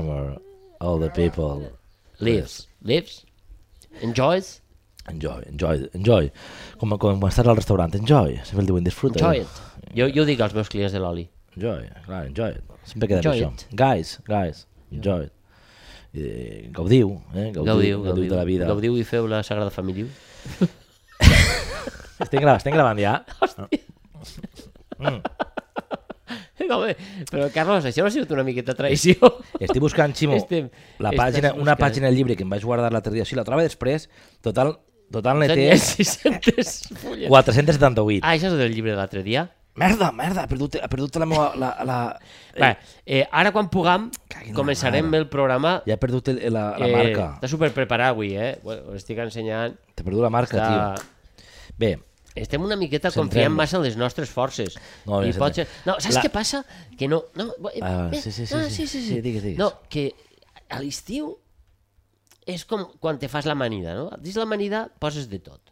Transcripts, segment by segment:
summer, all the people Lives. Lives. Enjoys. enjoy, enjoy, enjoy. Com, com quan estàs al restaurant, enjoy. Sempre el diuen disfruta. Enjoy it. Jo, jo ho dic als meus clients de l'oli. Enjoy, clar, enjoy it. Sempre queda Enjoy enjoy això. it. Guys, guys, enjoy it. I, gaudiu, eh? Gaudiu, gaudiu, de la vida. Gaudiu. Gaudiu i feu la Sagrada Família. Estem, gravant, estem gravant ja. No, bé, però Carlos, això no ha sigut una miqueta traïció. Estic buscant, Ximo, Estem- la estàs pàgina, una buscant. pàgina del llibre que em vaig guardar l'altre dia. Si la troba després, total, total ne té Tenia 600 fulles. 478. Ah, això és del llibre de l'altre dia. Merda, merda, he perdut, he perdut la meva... La, la... Va, eh, ara quan puguem, Cagui en la començarem mare. el programa. Ja he perdut el, la, la Eh, marca. Està super preparat avui, eh? Bueno, us estic ensenyant. T'he perdut la marca, Està... tio. Bé, Estem una miqueta Centrem-nos. confiant massa en les nostres forces. No, No, bé, I pot ser... centrem. no saps La- la... què passa? Que no... no eh, Ah, bé, sí, sí, sí, no, sí. sí, sí, Sí, digues, digues. No, que a l'estiu és com quan te fas l'amanida, no? Dins l'amanida poses de tot.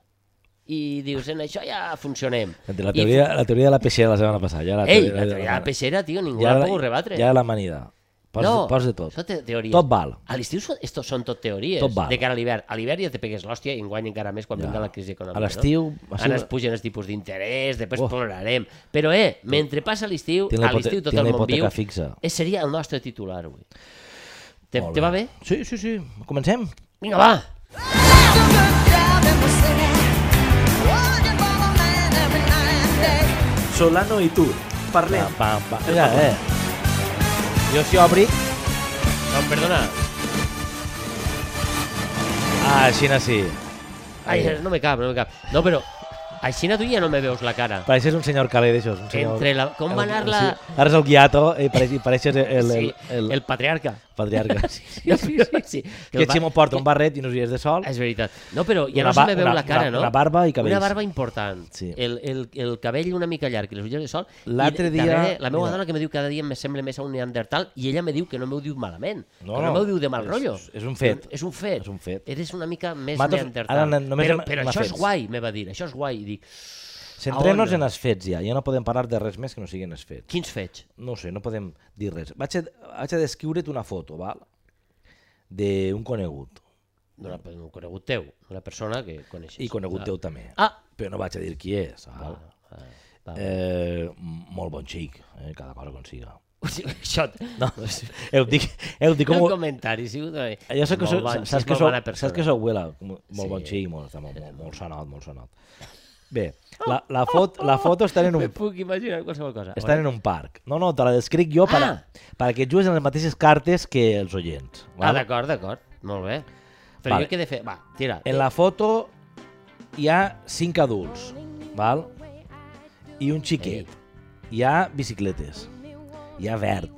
I dius, en això ja funcionem. entre la I teoria, la teoria de la peixera la setmana passada. Ja la Ei, la teoria de la peixera, tio, ningú ja la pogut rebatre. Ja l'amanida. Pots, no, pots de tot. Això té teories. Tot val. A l'estiu són, esto, són tot teories. Tot val. De cara a l'hivern. A l'hivern ja te pegues l'hòstia i enguany encara més quan Ja. ja. vinga la crisi econòmica. A l'estiu No? ha Ara sigut- es pugen els tipus d'interès, després oh. plorarem. Però, eh, mentre passa l'estiu, Tinc la a l'estiu hipote- tot tinc el la món viu, hipoteca fixa. eh, seria el nostre titular avui. Te, Molt te va bé? Sí, sí, sí. Comencem? Vinga, va! Solano i tu, parlem. Pam, pam, pam. Mira, eh. Jo si obri... No, perdona. Ah, així no sí. Ai, no me cap, no me cap. No, però així tu ja no me veus la cara. Pareixes un senyor calé d'això. un senyor- Entre la- com va el- anar la- Sí. Ara és el guiato i pareix- i pareixes el, el, sí, el, el, el patriarca. patriarca. Sí, sí. Sí, sí, sí. Que El va- Ximo porta un barret i unes ulleres de sol. És veritat. No, però ja Una no se ba- me veu una- la cara, una- no? una barba i cabells. Una barba important. Sí. El, el, el cabell una mica llarg i les ulleres de sol. I L'altre dia- darrere, la meva mira. dona que me diu cada dia em sembla més a un neandertal i ella me diu que no m'ho diu malament. No, No, que no, no, m'ho diu de mal és- rotllo. és un fet. És un fet. És un fet. Eres una mica més Matos, neandertal. ara n- només però, m'ha- però m'ha això és fets. guai, me va dir. Això és guai. I dic, Centrem-nos on? en els fets ja. Ja no podem parlar de res més que no siguin els fets. quins fets? no ho sé, no podem dir res. Vaig a, vaig a descriure't una foto, val? D'un conegut. D'una- D'un conegut teu. Una persona que coneixes. I conegut Ah. teu també. Ah, Però no vaig a dir qui és, val? ah, va. Eh, m- molt bon xic, eh? cada cosa com siga. Això... No, eu dic, eu dic Com... com... El comentari, eh, sí. Jo sé que sou, saps, que sou, saps que sou abuela, com- molt Sí. bon xic, molt, està molt, molt, molt sonat, molt sonat. Bé, Oh, la, la, fot, la foto està en Me un, puc imaginar qualsevol cosa. estan en un parc. No, no, te la descric jo per, Ah! perquè jugues en les mateixes cartes que els oients. Ah, val? d'acord, d'acord. Molt bé. Però Vale. jo què he de fer? Va, tira. En la foto hi ha cinc adults, val? I un xiquet. Hi ha bicicletes. Hi ha verd.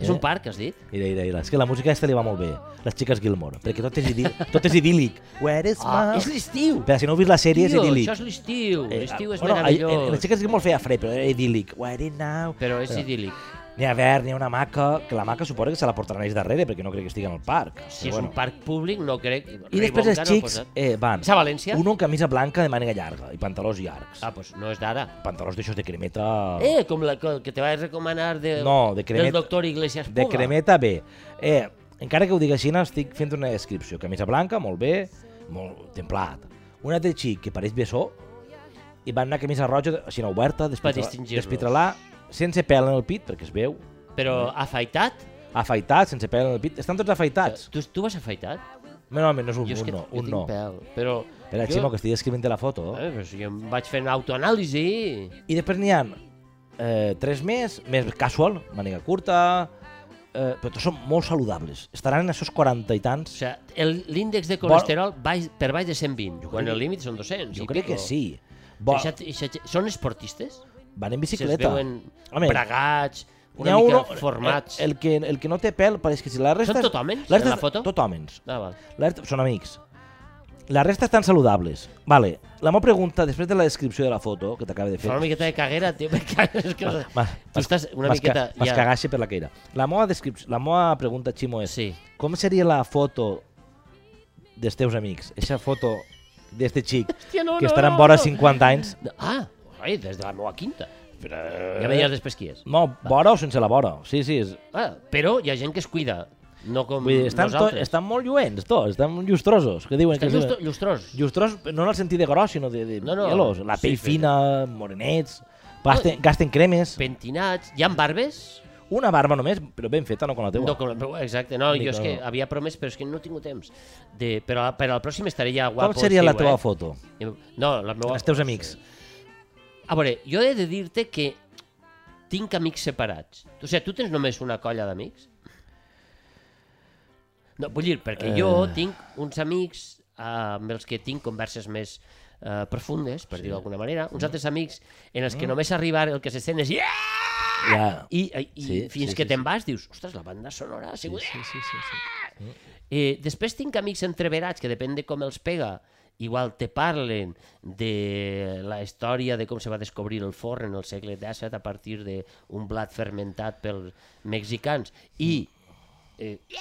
És un parc, has dit? Mira, mira, mira. És que la música aquesta li va molt bé. Les xiques Gilmore. Perquè tot és, idí tot és idíl·lic. Where is Ah, my... és l'estiu! Però si no heu vist la sèrie, és Tio, idíl·lic. això és l'estiu. Eh, L'estiu és bueno, ahir- meravellós. eh, Les xiques Gilmore feia fred, però era idíl·lic. Where is now... Però és idíl·lic. N'hi ha verd, n'hi ha una maca, que la maca suposa que se la portaran ells darrere, perquè no crec que estigui en el parc. Si Però és un parc públic, no crec... I després els xics eh, van... És a València? Un amb camisa blanca de màniga llarga i pantalons llargs. Ah, doncs no és d'ara. pantalons d'aixòs de cremeta... Eh, com la que que te vaig recomanar de, No, de cremet- del doctor Iglesias Puga. de cremeta bé. Eh, encara que ho digui així, no, estic fent una descripció. Camisa blanca, molt bé, molt templat. Un altre xic que pareix bessó i va amb una camisa roja, així no oberta, despetra- distingir-los. despitralar, sense pèl en el pit, perquè es veu, Però afaitat? afaitat, sense pèl en el pit. Estan tots afaitats. Tu, tu vas afaitat? No, no, no és un, jo és un que no, jo un tinc no. pèl. Però... Espera, jo- Ximo, que estic descrivint la foto. Eh, però si jo em vaig fent autoanàlisi. I després n'hi ha eh, tres més, més casual, màniga curta, eh, però tots són molt saludables. Estaran en aquests 40 i O tants? sigui, el- l'índex de colesterol baix, per baix de 120, quan crec- el límit són 200. Jo i crec pico. que sí. Bo, Eixa- eixa- són esportistes? van en Si es bicicleta. veuen Home, bragats, n'hi una ha mica uno- formats. El, el, que, el que no té pèl, pareix que si la resta... Són tot homes, la resta en la és- foto? Tot homes. Ah, val. La resta, són amics. La resta estan saludables. Vale, la meva pregunta, després de la descripció de la foto que t'acaba de fer... Fa una miqueta de caguera, tio, me cagues, és que... Tu estàs una miqueta... Vas cagar-se per la queira. La meva, descripció, la meva pregunta, Ximo, és... Sí. Com seria la foto dels teus amics? Eixa foto d'este xic Hòstia, no, que no, estarà no, en vora no. 50 anys Ah, oi, des de la meva quinta. Però... Ja me diràs després qui és. No, vora o sense la vora. Sí, sí. És... Ah, però hi ha gent que es cuida, no com Vull dir, estan, to... nosaltres. estan molt lluents, tots. Estan llustrosos. Que diuen Estan que lustro- llustrosos. Llustrosos, no en el sentit de gros, sinó de, de No, no. pielos. La Sí, pell sí. fina, morenets, gasten, gasten cremes. Pentinats, hi ha barbes? Una barba només, però ben feta, no com la teua. No, com, però exacte, no, Ni jo és com- que havia promès, però és que no he tingut temps. De, però, però al pròxim estaré ja guapo. com seria la estiu, teva eh? foto? No, la meva... Els teus amics. A veure, jo he de dir-te que tinc amics separats. O sigui, tu tens només una colla d'amics? No, vull dir, perquè jo Eh. tinc uns amics eh, amb els que tinc converses més eh, profundes, per dir-ho d'alguna manera, uns Mm. altres amics en els que només arribar el que se sent és yeah! Ja. I, i, i sí, Sí, sí, fins sí, que sí, te'n vas dius, ostres, la banda sonora ha sigut... Sí, sí, sí. sí. Eh, després tinc amics entreverats que depèn de com els pega igual te parlen de la història de com se va descobrir el forn en el segle XVII a partir d'un blat fermentat pels mexicans i Mm. eh,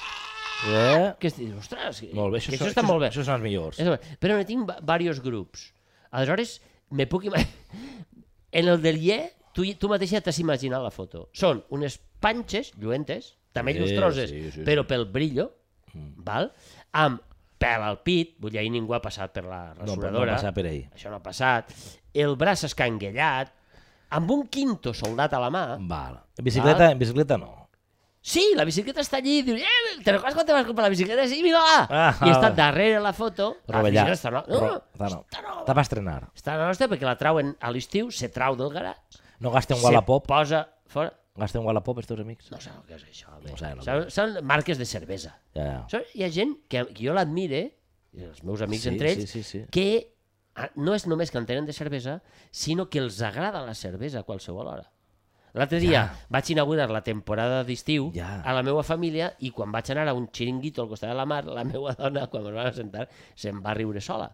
Eh? que es diu, ostres, que- Molt bé, que això, això, està molt bé. Això són els millors. Això... Però no tinc va- diversos grups. Aleshores, me puc ima- En el del Ye, tu, tu mateix ja t'has imaginat la foto. Són unes panxes lluentes, també Sí, llustroses, sí, sí, sí. Mm. però pel brillo, val? amb pèl al pit, vull dir, ahir ningú ha passat per la No, però rasuradora, no passar per ahir. això no ha passat, el braç escanguellat, amb un quinto soldat a la mà, Val. En bicicleta, en bicicleta no. Sí, la bicicleta està allí. Diu, eh, te recordes quan te vas comprar la bicicleta? Sí, mira -la. Ah, I està ah. darrere la foto. La Rovellar. Ah, bicicleta està, no, no, Ro- no, està no. està nova. Està per estrenar. Està la nostra perquè la trauen a l'estiu, se trau del garatge, No gasten se Wallapop. posa fora... Gasten Wallapop, els teus amics? No sé el que és això, home. No sé el que són, són marques de cervesa. Ja, ja. Això, hi ha gent que, que jo l'admire, i els meus amics Sí, entre ells, sí, sí, sí. que ah, no és només que en tenen de cervesa, sinó que els agrada la cervesa a qualsevol hora. L'altre dia ja. vaig inaugurar la temporada d'estiu Ja. a la meva família i quan vaig anar a un xiringuito al costat de la mar, la meva dona, quan ens vam sentar, se'n va riure sola.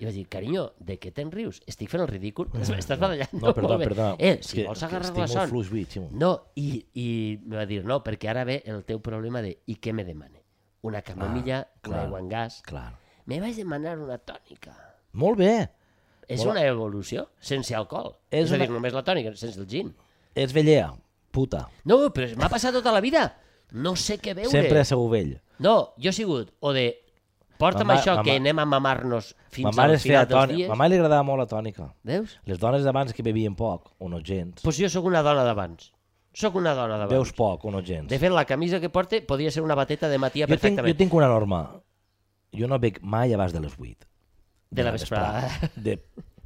I vaig dir, carinyo, de què te'n rius? Estic fent el ridícul? Estàs badallant No, perdó, molt bé. perdó. Eh, És si que- vols és que agarrar estic la molt son... fluix, avui, Ximo. no, i, i em va dir, no, perquè ara ve el teu problema de i què me demane? Una camomilla, ah, una clar. aigua en gas... Clar. Me vaig demanar una tònica. Molt bé. És Hola. una evolució, sense alcohol. És És, és a una- dir, només la tònica, sense el gin. Ets vellea. Puta. No, però m'ha passat tota la vida. No sé què veure. Sempre has sigut vell. No, jo he sigut o de porta'm Ma ma- això ma que ma- anem a mamar-nos fins Ma mare al es feia final dels tònica. dies. Ma mare li agradava molt la tònica. Veus? Les dones d'abans que bevien poc, o no gens. Doncs jo sóc una dona d'abans. Sóc una dona d'abans. Veus poc, o no gens. doncs, De fet, la camisa que porte podria ser una bateta de Matia jo, tinc, perfectament. jo tinc una norma. Jo no bec mai abans de les 8. De la vesprada. De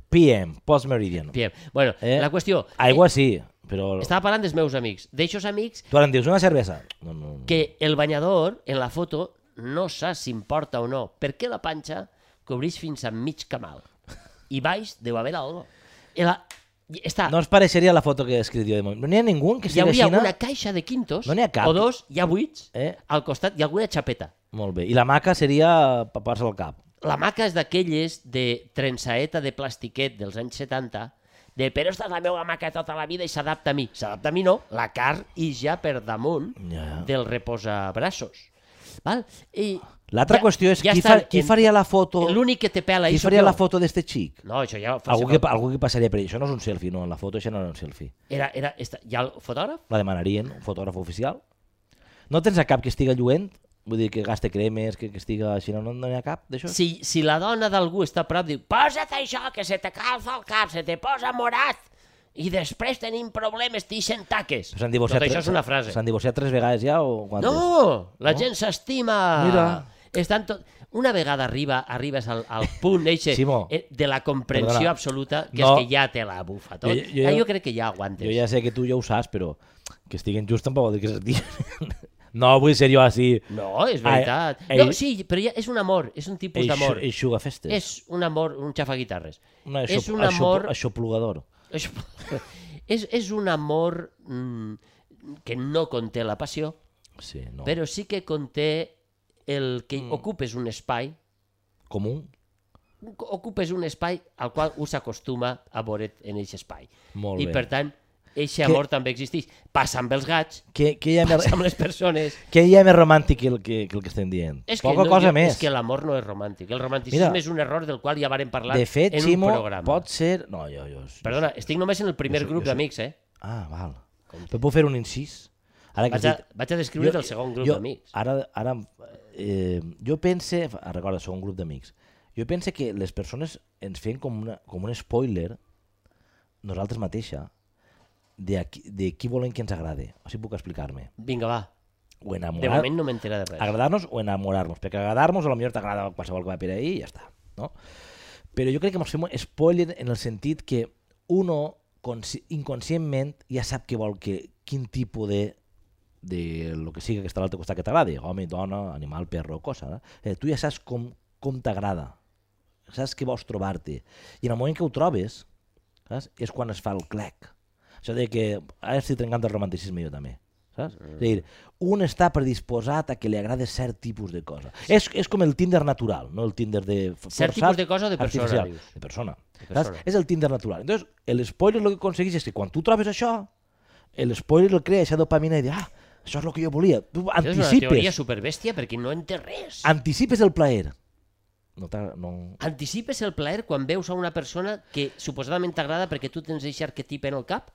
PM, post meridian. Bien. Bueno, Eh? la qüestió... Aigua sí, però... Estava parlant dels meus amics. D'eixos amics Tu ara em dius una cervesa. No, no, no. que el banyador, en la foto, no saps si importa o no, perquè la panxa cobreix fins a mig camal. I baix deu haver algo. I la... i Està, No no, us pareixeria la foto que he escrit jo de moment. No n'hi ha ningú que hi sigui hauria aixina? una caixa de quintos, No n'hi ha cap. o dos, hi ha vuits, eh? Eh? al costat, i alguna xapeta. Molt bé. I la maca seria papar-se el cap. La maca és d'aquelles de trençaeta de plastiquet dels anys 70, de però esta és la meva maca tota la vida i s'adapta a mi. S'adapta a mi no, la carn i ja per damunt Ja. del reposabraços. Val? I L'altra ja- qüestió és ja qui, està fa, qui en- faria la foto... L'únic que te pela Qui això faria jo. la foto d'este xic? No, això ja ho fa Algú que, qualsevol. algú que passaria per ell. Això no és un selfie, no. La foto això no era un selfie. Era, era, esta, hi ha el fotògraf? La demanarien, un fotògraf oficial. No tens a cap que estiga lluent? Vull dir, que gaste cremes, que, que estiga així, no, no n'hi ha cap d'això? Si, si la dona d'algú està a prop, diu posa't això, que se te calza el cap, se te posa morat, i després tenim problemes, t'hi sent taques. Però S'han Tot divorciat, això tres- és una frase. S'han divorciat tres vegades ja o quantes? No, la gent s'estima. Mira. Estan tot... Una vegada arriba, arribes al, al punt eixe Ximo, eh, de la comprensió perdona. absoluta, que No. és que ja te la bufa tot. Jo- Jo, jo- jo, jo crec que ja aguantes. Jo ja sé que tu ja ho saps, però que estiguen just tampoc vol dir que s'estiguen. no vull ser jo així. No, és veritat. Ah, eh, no, eh, sí, però ja és un amor, és un tipus d'amor. Eixuga festes. És un amor, un xafaguitarres. Una és aixop, un amor... Això, plugador. Això... és, és un amor mm, que no conté la passió, Sí, no. Mm. però sí que conté el que ocupes un espai, Comú. un- ocupes un espai al qual us acostuma a veure't en aquest espai. Molt I bé. per tant, aquest amor també existeix. Passa amb els gats, Què, què, hi ha més, passa amb les persones... què hi ha més romàntic que el que, que, el que estem dient? És que Poca no, cosa jo- més. És que l'amor no és romàntic. El romanticisme Mira, és un error del qual ja vàrem parlar De fet, en Ximo, un programa. pot ser... No, jo... jo Perdona, estic només en el primer Jo soc- grup jo soc- d'amics, eh? Ah, val. Però puc fer un incís? Ara Vaig has a, vaig a descriure del segon grup jo, d'amics. Ara, ara eh, jo pense, ah, recorda, segon grup d'amics, jo pense que les persones ens feien com, una, com un spoiler nosaltres mateixa de, a qui, de qui volen que ens agrade. O sigui, puc explicar-me. Vinga, va. O De enamorar, moment no m'entera de res. agradar-nos o enamorar-nos, perquè agradar-nos a lo millor t'agrada qualsevol que va per ahí i ja està, no? Però jo crec que ens fem un spoiler en el sentit que uno consci- inconscientment ja sap que vol que, quin tipus de de lo que sigui que està a l'altre costat que t'agradi, home, dona, animal, perro, cosa. No? Eh, tu ja saps com, com t'agrada, saps que vols trobar-te. I en el moment que ho trobes, saps? és quan es fa el clac. Això de que ara estic trencant el romanticisme jo també. Saps? Mm. És a dir, un està predisposat a que li agrada cert tipus de cosa. És, és com el Tinder natural, no el Tinder de f- forçat. Cert tipus de cosa o de persona, artificial. dius? De persona. De saps? persona. És el Tinder natural. Entonces, el spoiler el que aconseguís és que quan tu trobes això, el spoiler el crea aquesta dopamina i dius, ah, això és el que jo volia. Tu Això és una teoria anticipes, superbèstia perquè no en té res. anticipes el plaer. No, t'agra- no, Anticipes el plaer quan veus a una persona que suposadament t'agrada perquè tu tens aquest arquetip en el cap?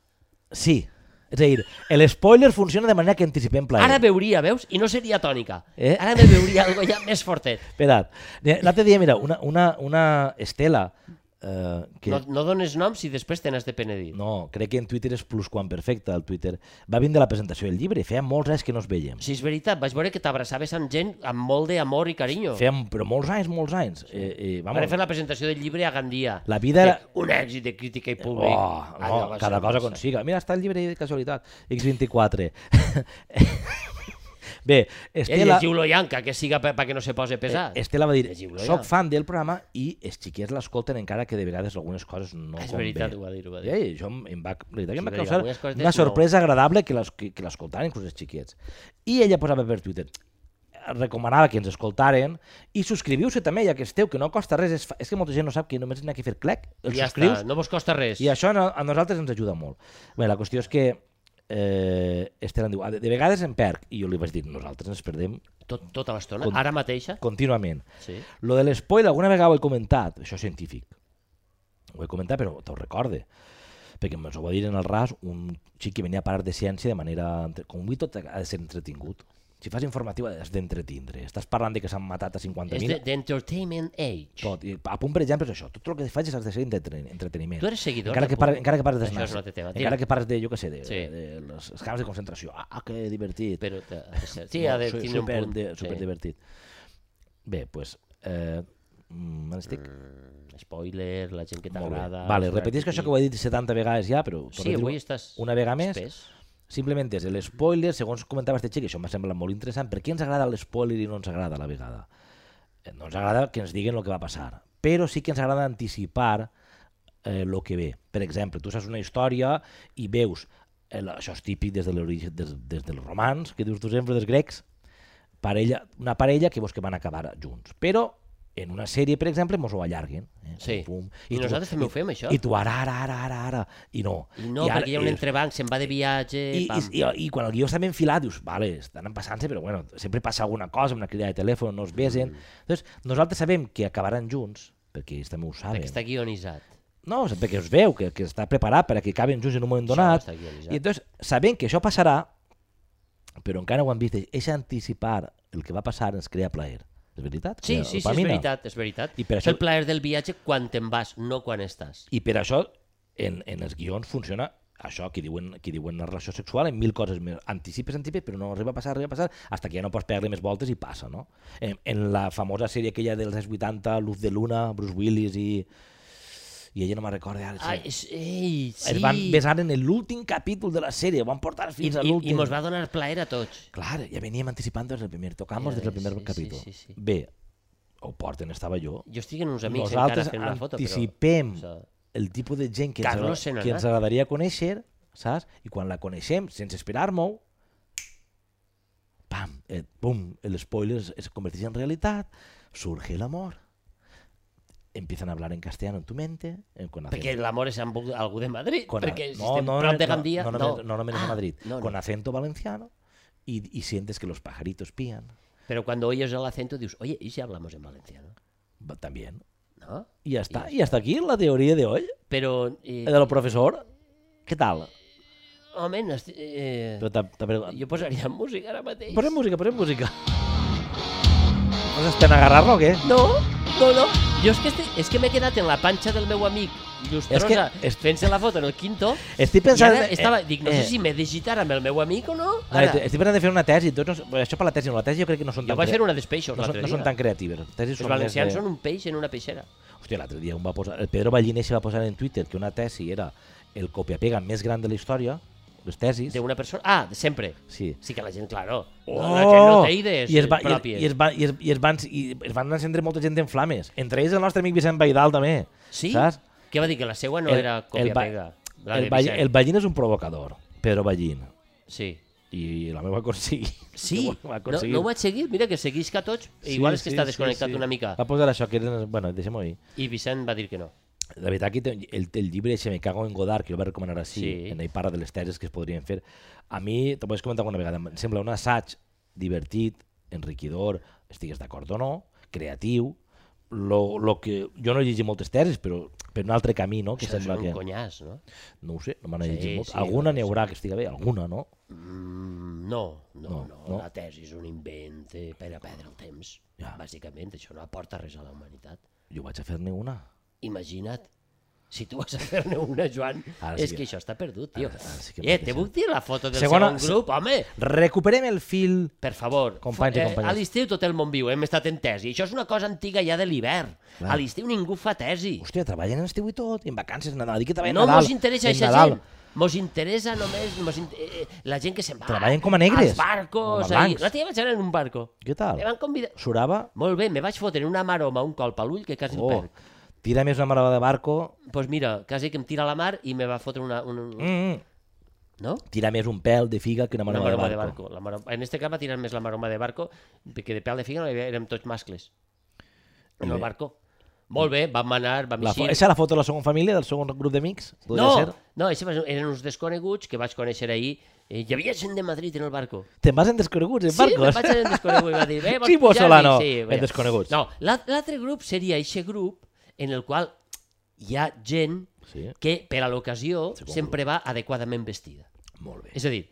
Sí. És a dir, el spoiler funciona de manera que anticipem plaer. Ara veuria, veus? I no seria tònica. Eh? Ara me veuria algo ja més fortet. Espera't. L'altre dia, mira, una, una, una Estela, eh, que... No, no dones noms i després te n'has de penedir. No. No, crec que en Twitter és plusquamperfecta, el Twitter. Va vindre a la presentació del llibre, feia molts anys que no es veiem. Si és veritat, vaig veure que t'abraçaves amb gent amb molt d'amor i carinyo. Feia, però molts anys, molts anys. Eh, eh, Vam vamos, fer la presentació del llibre a Gandia. La vida era- Un èxit de crítica i Oh, públic. Allò no, Ah, va cada ser cosa massa. consiga. Mira, està el llibre de casualitat. X24. Bé, Eh, Estela... llegiu-lo ja, encara que siga perquè que no se pose pesat. Eh, Estela va dir, Llegiu-lo ja. soc fan del programa i els xiquets l'escolten encara que de vegades algunes coses no Ah, És convé. veritat, ho va dir, ho va dir. Eh, això em, em va, la veritat que Sí, em va va dir, causar algunes coses una no. sorpresa agradable que les- que que l'escoltaren inclús els xiquets. I ella posava per Twitter recomanava que ens escoltaren i subscriviu-se també, ja que esteu, que no costa res és, fa- és que molta gent no sap que només n'hi ha que fer clac el ja subscrius està, no vos costa res. i això a, a nosaltres ens ajuda molt. Bé, la qüestió és que eh, Estela em diu, "Ah, de, de vegades em perc i jo li vaig dir, nosaltres ens perdem Tot, tota l'estona, Con- ara mateixa. contínuament Sí. Lo de l'espoil alguna vegada ho he comentat, això és científic. Ho he comentat, però te'ho recorde. Perquè ens ho va dir en el RAS un xic que venia a parar de ciència de manera... entre- Com avui tot ha de ser entretingut. Si fas informatiu has d'entretindre. Estàs parlant de que s'han matat a És de- 50.000... d'Entertainment Age. Tot. I a punt, per exemple, és això. Tot el que facis has de ser entreten entreteniment. Tu eres seguidor Encara del que, par punt? encara que parles Això dels és nazis. un altre tema. Tira. Encara que parles de, jo què sé, de, Sí. sí. de, les, els camps de concentració. Ah, ah, que divertit. Però te, sí, ha de su- tindre un super, punt. De, sí. super divertit. Bé, doncs... Pues, eh, mm, me n'estic? Mm, Spoiler, la gent que Molt bé. t'agrada... Vale, el repetís que això que ho arquetip. he dit 70 vegades ja, però... per Sí, repetir-ho avui estàs... Una vegada més, espès. simplement és l'espoiler, segons comentava este xic, això m'ha semblat molt interessant, per què ens agrada l'espoiler i no ens agrada a la vegada? Eh, No ens agrada que ens diguen el que va passar, però sí que ens agrada anticipar el lo que ve. Per exemple, tu saps una història i veus, el, això és típic des, de l'origen- des, des dels romans, que dius tu sempre dels grecs, parella, una parella que veus que van acabar junts. Però en una sèrie, per exemple, mos ho allarguen. Eh? Sí. Pum, pum. I, tu- nosaltres també ho fem, això. i tu ara, ara, ara, ara, ara, i no. I no, ara- perquè hi ha un i- entrebanc, se'n va de viatge... i, pam. i, i, i quan el guió està ben filat dius, vale, estan passant-se, però bueno, sempre passa alguna cosa, una crida de telèfon, no es besen. Mm. Entonces, nosaltres sabem que acabaran junts, perquè ells també ho saben. Perquè està guionitzat. No, és perquè es veu que, que està preparat per a que acaben junts en un moment donat. està guionitzat. I entonces, sabent que això passarà, però encara ho han vist, és anticipar el que va passar ens crea plaer. És veritat? Sí, Crea sí, sí, és dopamina. veritat, és veritat. I per És això- el plaer del viatge quan te'n vas, no quan estàs. I per això, en, en els guions funciona això que diuen, que diuen la relació sexual en mil coses més. Anticipes, anticipes, però no arriba a passar, arriba a passar, hasta que ja no pots pegar-li més voltes i passa, no? En, en la famosa sèrie aquella dels anys 80, Luz de Luna, Bruce Willis i... I ella no me'n recorda ara. Ah, Sí. és, ei, sí. Es van besar en l'últim capítol de la sèrie, ho van portar I, fins a i, l'últim. i mos va donar plaer a tots. Clar, ja veníem anticipant des del primer, tocamos Ja des del ves, primer sí, sí, capítol. sí, sí. Bé, ho porten, estava jo. Jo estic en uns amics Nosaltres encara fent una foto, anticipem però... o sigui, el tipus de gent que, Carlos ens, se n'ha agra- que ens anat. agradaria conèixer, saps? I quan la coneixem, sense esperar-m'ho, pam, et, bum, l'espoiler es, es converteix en realitat, surge el amor, empiezan a hablar en castellano en tu mente, eh, con acento- Perquè l'amor és amb algú de Madrid, con a- perquè si estem prop de Gandia... Ah, no, no, no, no, no, menos a Madrid, no, no. con acento valenciano, y, y sientes que los pajaritos pían, Però quan oyes el acento dius, oye, ¿y si hablamos en valenciano? va- también. No? Y ya está, y hasta aquí la teoría de hoy, Pero... eh, de lo profesor. ¿Qué tal? Home, no estic... Eh... Però tam- també... Jo posaria música ara mateix. Posem música, posem música. Vas estem a agarrar-lo o què? No, no, no. Jo és que, estic, és que m'he quedat en la panxa del meu amic Llustrosa És que- és- fent-se la foto en el quinto Estic i pensant... ara estava, eh, dic, no sé eh, si m'he de gitar amb el meu amic o no. no, Ara, Estic pensant de fer una tesi. Tots, no, s- bueno, això per la tesi, no, la tesi jo crec que no són jo tan... vaig crea- fer una d'espeixos no, són, l'altre no dia. són tan creatives. Les tesis Els són més valencians de- són un peix en una peixera. Hòstia, l'altre dia un va posar... El Pedro Balliner se va posar en Twitter que una tesi era el copiapega més gran de la història, les tesis. D'una persona... Ah, de sempre. Sí. Oh! Sí que la gent, claro. La gent no té idees I es, va, i, es- eh, pròpies. i, es va, i, es, i, es van, I es van encendre molta gent en flames. Entre ells el nostre amic Vicent Baidal, també. Sí? Saps? Què va dir? Que la seva no El- era el ba- còpia-pega. La El, de Ball, Vicent. el Ballín és un provocador, Pedro Ballín. Sí. I la meva aconseguir. Sí, Ho va no, aconseguir. no ho vaig seguir. Mira que seguís que a tots, Sí, igual és que sí, està sí, desconnectat sí. una mica. Va posar això, que era... Bueno, deixem-ho ahir. I Vicent va dir que no. La veritat que té- el, el llibre Se me cago en Godard, que el va recomanar així, Sí. sí. en ell parla de les teses que es podrien fer. A mi, t'ho vaig comentar alguna vegada, em sembla un assaig divertit, enriquidor, estigues d'acord o no, creatiu, lo, lo que... Jo no he llegit moltes teses, però per un altre camí, no? Que Això és sembla un que... conyàs, no? No ho sé, no m'han Sí, llegit molt. sí, alguna no n'hi haurà que estiga bé, alguna, no? Mm, no, no, no, No, no, no. La tesi és un invent eh, per a perdre el temps. Ja. Bàsicament, això no aporta res a la humanitat. Jo vaig a fer-ne una. Imagina't, si tu vas a fer-ne una, Joan, Ara sí és que- que això està perdut, tio. Ara- ara sí que eh, m'ha te deixat. puc dir la foto del Segona- segon grup, home? Recuperem el fil... Per favor, Companys i eh, companyes. a l'estiu tot el món viu, hem estat en tesi. Això és una cosa antiga ja de l'hivern. Clar. A l'estiu ningú fa tesi. Hòstia, treballen en estiu i tot, i en vacances, en Nadal, i que treballen no Nadal. mos interessa en aquesta Nadal. gent. Mos interessa només mos in... eh, eh, la gent que se'n va. Treballen com a negres, Als barcos. com a ahí. blancs. La tia vaig anar en un barco. Què tal? Me van convidar... Surava? Molt bé, me vaig fotre una maroma, un colp a l'ull que quasi oh. Oh, em perc. tira més una marava de barco, Doncs pues mira, quasi que em tira a la mar i me va fotre una... Un, un... mm, No? tira més un pèl de figa que una Una marava, maroma de, de barco. barco. La maroma... En este cas va tirar més la maroma de barco, que de pèl de figa no hi havia, érem tots mascles. En el Bé. barco. Molt bé, vam anar, vam La fo- eixir... Esa és la foto de la segona família, del segon grup d'amics? Podria No, ser? no, això va ser- eren uns desconeguts que vaig conèixer ahir. Eh, hi havia gent de Madrid en el barco. Te'n vas en desconeguts, en Sí, barcos? me'n vaig anar en desconegut i va dir... Eh, vols Sí, vos, pujar?" Solano, Dic, en vaja. desconeguts. No, l'al- l'altre grup seria eixe grup en el qual hi ha gent Sí, que per a l'ocasió Segon sempre va adequadament vestida. molt bé. És a dir,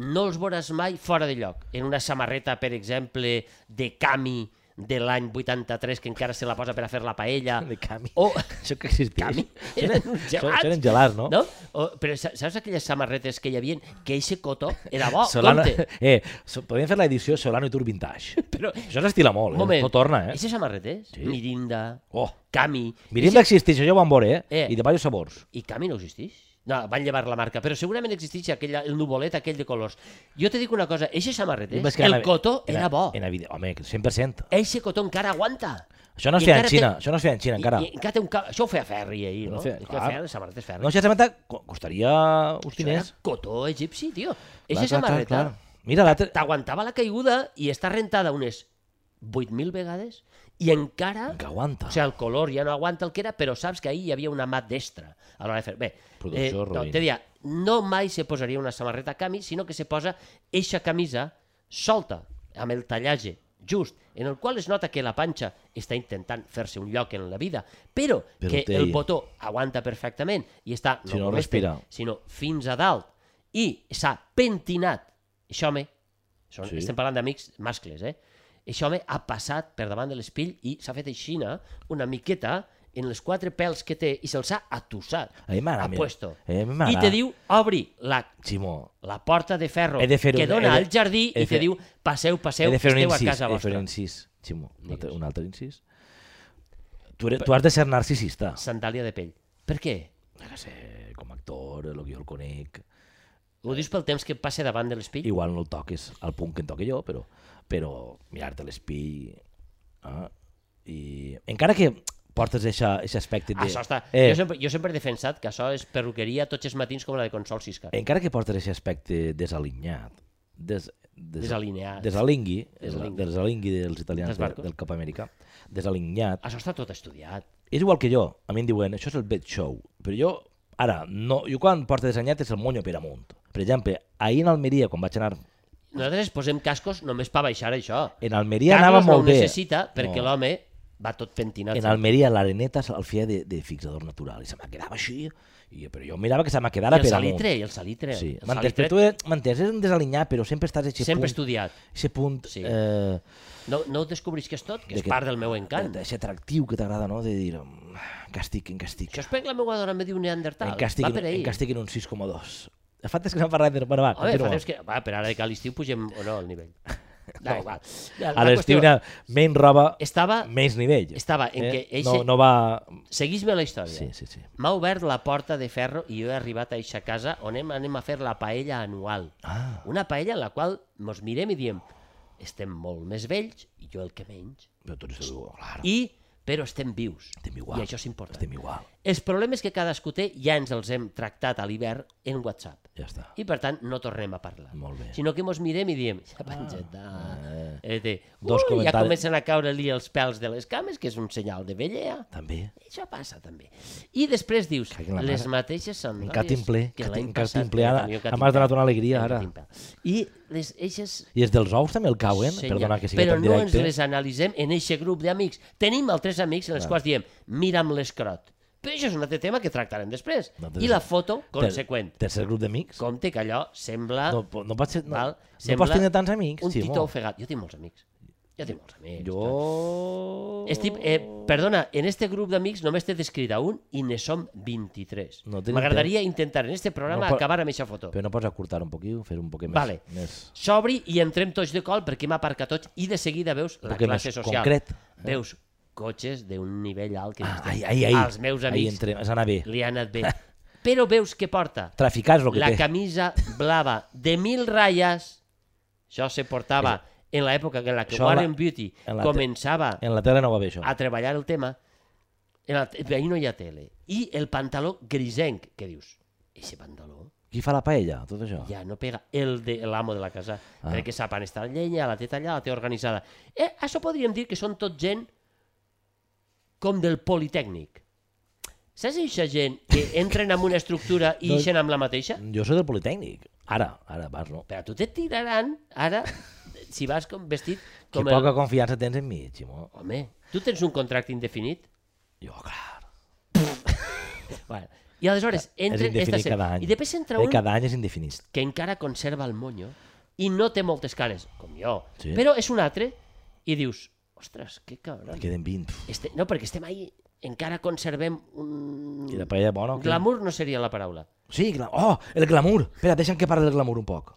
no els veuràs mai fora de lloc. En una samarreta, per exemple, de Cami de l'any 83, que encara se la posa per a fer la paella. De cami. O, Això que existeix. Oh. Cami. Eren, Eren uns són, gelats. eren gelats, no? no? O, però sa- saps aquelles samarretes que hi havia? Que eixe cotó era bo, Solano, Oh, compte. eh, so, podem fer l'edició Solano i Tour Vintage. Però, Això s'estila molt, un eh? moment, No torna, eh? Eixes samarretes? Sí. Mirinda, Oh, Cami... Mirinda existeix, això ja ho vam veure, eh? Eh. I de diversos sabors. I Cami no existeix? No, van llevar la marca, però segurament existeix aquella, el nuvolet aquell de colors. Jo te dic una cosa, eixe samarretes, Més que el en- cotó en- era bo. En, evident- home, 100%. Eixe cotó encara aguanta. Això no es I feia en encara té- Xina, això no es feia en Xina encara. I, i encara té un ca... Això ho feia Ferri ahir, no? No no feia- feia, clar. clar. Feia les samarretes Ferri. No, No, això samarreta co- costaria uns això era diners. cotó egipci, tio. Clar, Eixa clar, clar, samarreta clar. Mira, l'altre... t'aguantava la caiguda i està rentada unes 8.000 vegades i encara... Que aguanta. O sigui, el color ja no aguanta el que era, però saps que ahir hi havia una mà destra a l'hora de fer... Bé, eh, Producció no, ruïna. te dia, no mai se posaria una samarreta cami, sinó que se posa eixa camisa solta, amb el tallatge just, en el qual es nota que la panxa està intentant fer-se un lloc en la vida, però, Però que té el ahí. botó aguanta perfectament i està, Si no només respira. té, sinó fins a dalt, i s'ha pentinat. Això, home, són, Sí. sí. estem parlant d'amics mascles, eh? Això home ha passat per davant de l'espill i s'ha fet aixina una miqueta en les quatre pèls que té i se'ls ha atussat. A mi m'agrada. mira. Apuesto. A mi I m'agrada. te diu, obri la, Ximo, la porta de ferro He de fer que un- dona he de- al jardí he de i fer- te diu, passeu, he passeu, de fer un esteu a incís. casa He de fer vostra. un incís. Ximo, un altre, Digues. un altre incís. Tu, eres, tu has de ser narcisista. Sandàlia de pell. Per què? No sé, com a actor, el que jo el conec... Ho dius pel temps que passa davant de l'espill? Igual no el toques al punt que en toque jo, però, però mirar-te l'espill... Ah, i... Encara que portes aquest aspecte de... Això està... Eh, Jo, sempre, jo sempre he defensat que això és perruqueria tots els matins com la de Consol Sisca. Encara que portes aquest aspecte desalinyat, des, des, Desalineat. desalingui, Desalingui. desalingui, desalingui dels italians Dels de, barcos. del Cap Amèrica, desalinyat, Això està tot estudiat. és igual que jo, a mi em diuen, això és el bad show, però jo, ara, no, jo quan porto desalinyat és el monyo per amunt. Per exemple, ahir en Almeria, quan vaig anar, Nosaltres posem cascos només per baixar això. en Almeria anava no molt ho bé. necessita perquè l'home va tot pentinat. En Almería l'areneta se'l feia de, de fixador natural i se me quedava així. I, jo- però jo mirava que se me quedara I el per amunt. salitre, i el salitre. Sí. El M'entens, salitre però tu eh, m'entens, és un desalinyar, però sempre estàs a aquest sempre punt, estudiat. aquest punt Sí. eh, No, no ho descobrisques tot, que De és que- part del meu encant. aquest atractiu que t'agrada, no? De dir, "Mm, que estic, en castic. Això és perquè la meva dona me diu Neandertal. En castic, va per ahí. en castic en un 6,2. Fa temps que no parlat de... Bueno, va, Home, fa continua. temps que... Va, però ara que a l'estiu pugem o no al nivell. No, Dai, igual. La- la A l'estiu qüestió una menys roba, Estava... menys nivell. Eh? Estava en que eixe- No, no va... Seguís-me la història. Sí, sí, sí. M'ha obert la porta de ferro i jo he arribat a eixa casa on hem, anem a fer la paella anual. Ah. Una paella en la qual mos mirem i diem estem molt més vells, i jo el que menys, Però tots diu, clar, i però estem vius. estem igual. I això és important. Estem igual, Els problemes que cadascú té ja ens els hem tractat a l'hivern en WhatsApp. ja està. I per tant no tornem a parlar. Molt bé. Sinó que mos mirem i diem, ja pengeta. eh. Eh, té, Dos ui, ja comentaris. comencen a caure-li els pèls de les cames, que és un senyal de vellea. També. Això passa també. I després dius, Cague la les mare. mateixes sandàlies... catimple, que cati- l'any en passat catimple, era ara. el millor Ara m'has donat una alegria, En ara. catimple. I les eixes... I els dels ous també el cauen? senyor, Perdona que sigui però tan no ens directe. les analitzem en eixe grup d'amics. Tenim altres amics en els quals diem, mira'm l'escrot. Però això és un altre tema que tractarem després. No, I la foto, Ter- conseqüent. Tercer grup d'amics? Compte que allò sembla... No, po- no, pots, ser, no, Val? no pots tenir tants amics, Un Ximo. titó ofegat. Jo tinc molts amics. Jo tinc molts amics. clar. Jo... Estic, eh, perdona, en este grup d'amics només t'he descrit a un i ne som 23. No tenim M'agradaria intentar en este programa No, però- acabar amb aquesta foto. Però no pots acurtar un poquillo, fer un poquet Vale. més... més... S'obri i entrem tots de col perquè m'aparca tots i de seguida veus la Perquè classe més social. concret, eh? Ah, Veus cotxes d'un nivell alt que dius, Ai, ai, ai. als meus Ahí amics entre... Has d'anar bé. li ha anat bé. Però veus què porta? Traficar és el que La té. camisa blava de mil ratlles, això se portava en l'època en la que Això la- Warren Beauty en la te- començava En la tele no va bé, això. a treballar el tema, en la, te- ahí no hi ha tele. I el pantaló grisenc, que dius, eixe pantaló Qui fa la paella, tot això? ja no pega el de l'amo de la casa, Ah. ah. perquè sap on està la llenya, la té tallada, la té organitzada. Eh, això podríem dir que són tot gent com del Politècnic. Saps eixa gent que entren en una estructura i No. ixen amb la mateixa? Jo soc del Politécnic. Ara, ara, vas, no. Però a tu te tiraran ara, si vas com vestit Que com poca confiança tens en mi, Ximo. Home, tu tens un contracte indefinit? Jo, clar. Bueno, I aleshores és entra esta indefinit gent. cada any. I després entra Eh, un Cada any és indefinit. que encara conserva el monyo i no té moltes canes, com jo. Sí. Però és un altre i dius, ostres, que cabron. En queden 20. Este... No, perquè estem ahí, encara conservem un... I la paella bona? o què? Glamour no seria la paraula. Sí, gla... oh, el glamour. Espera, deixa'm que parli del glamour un poc.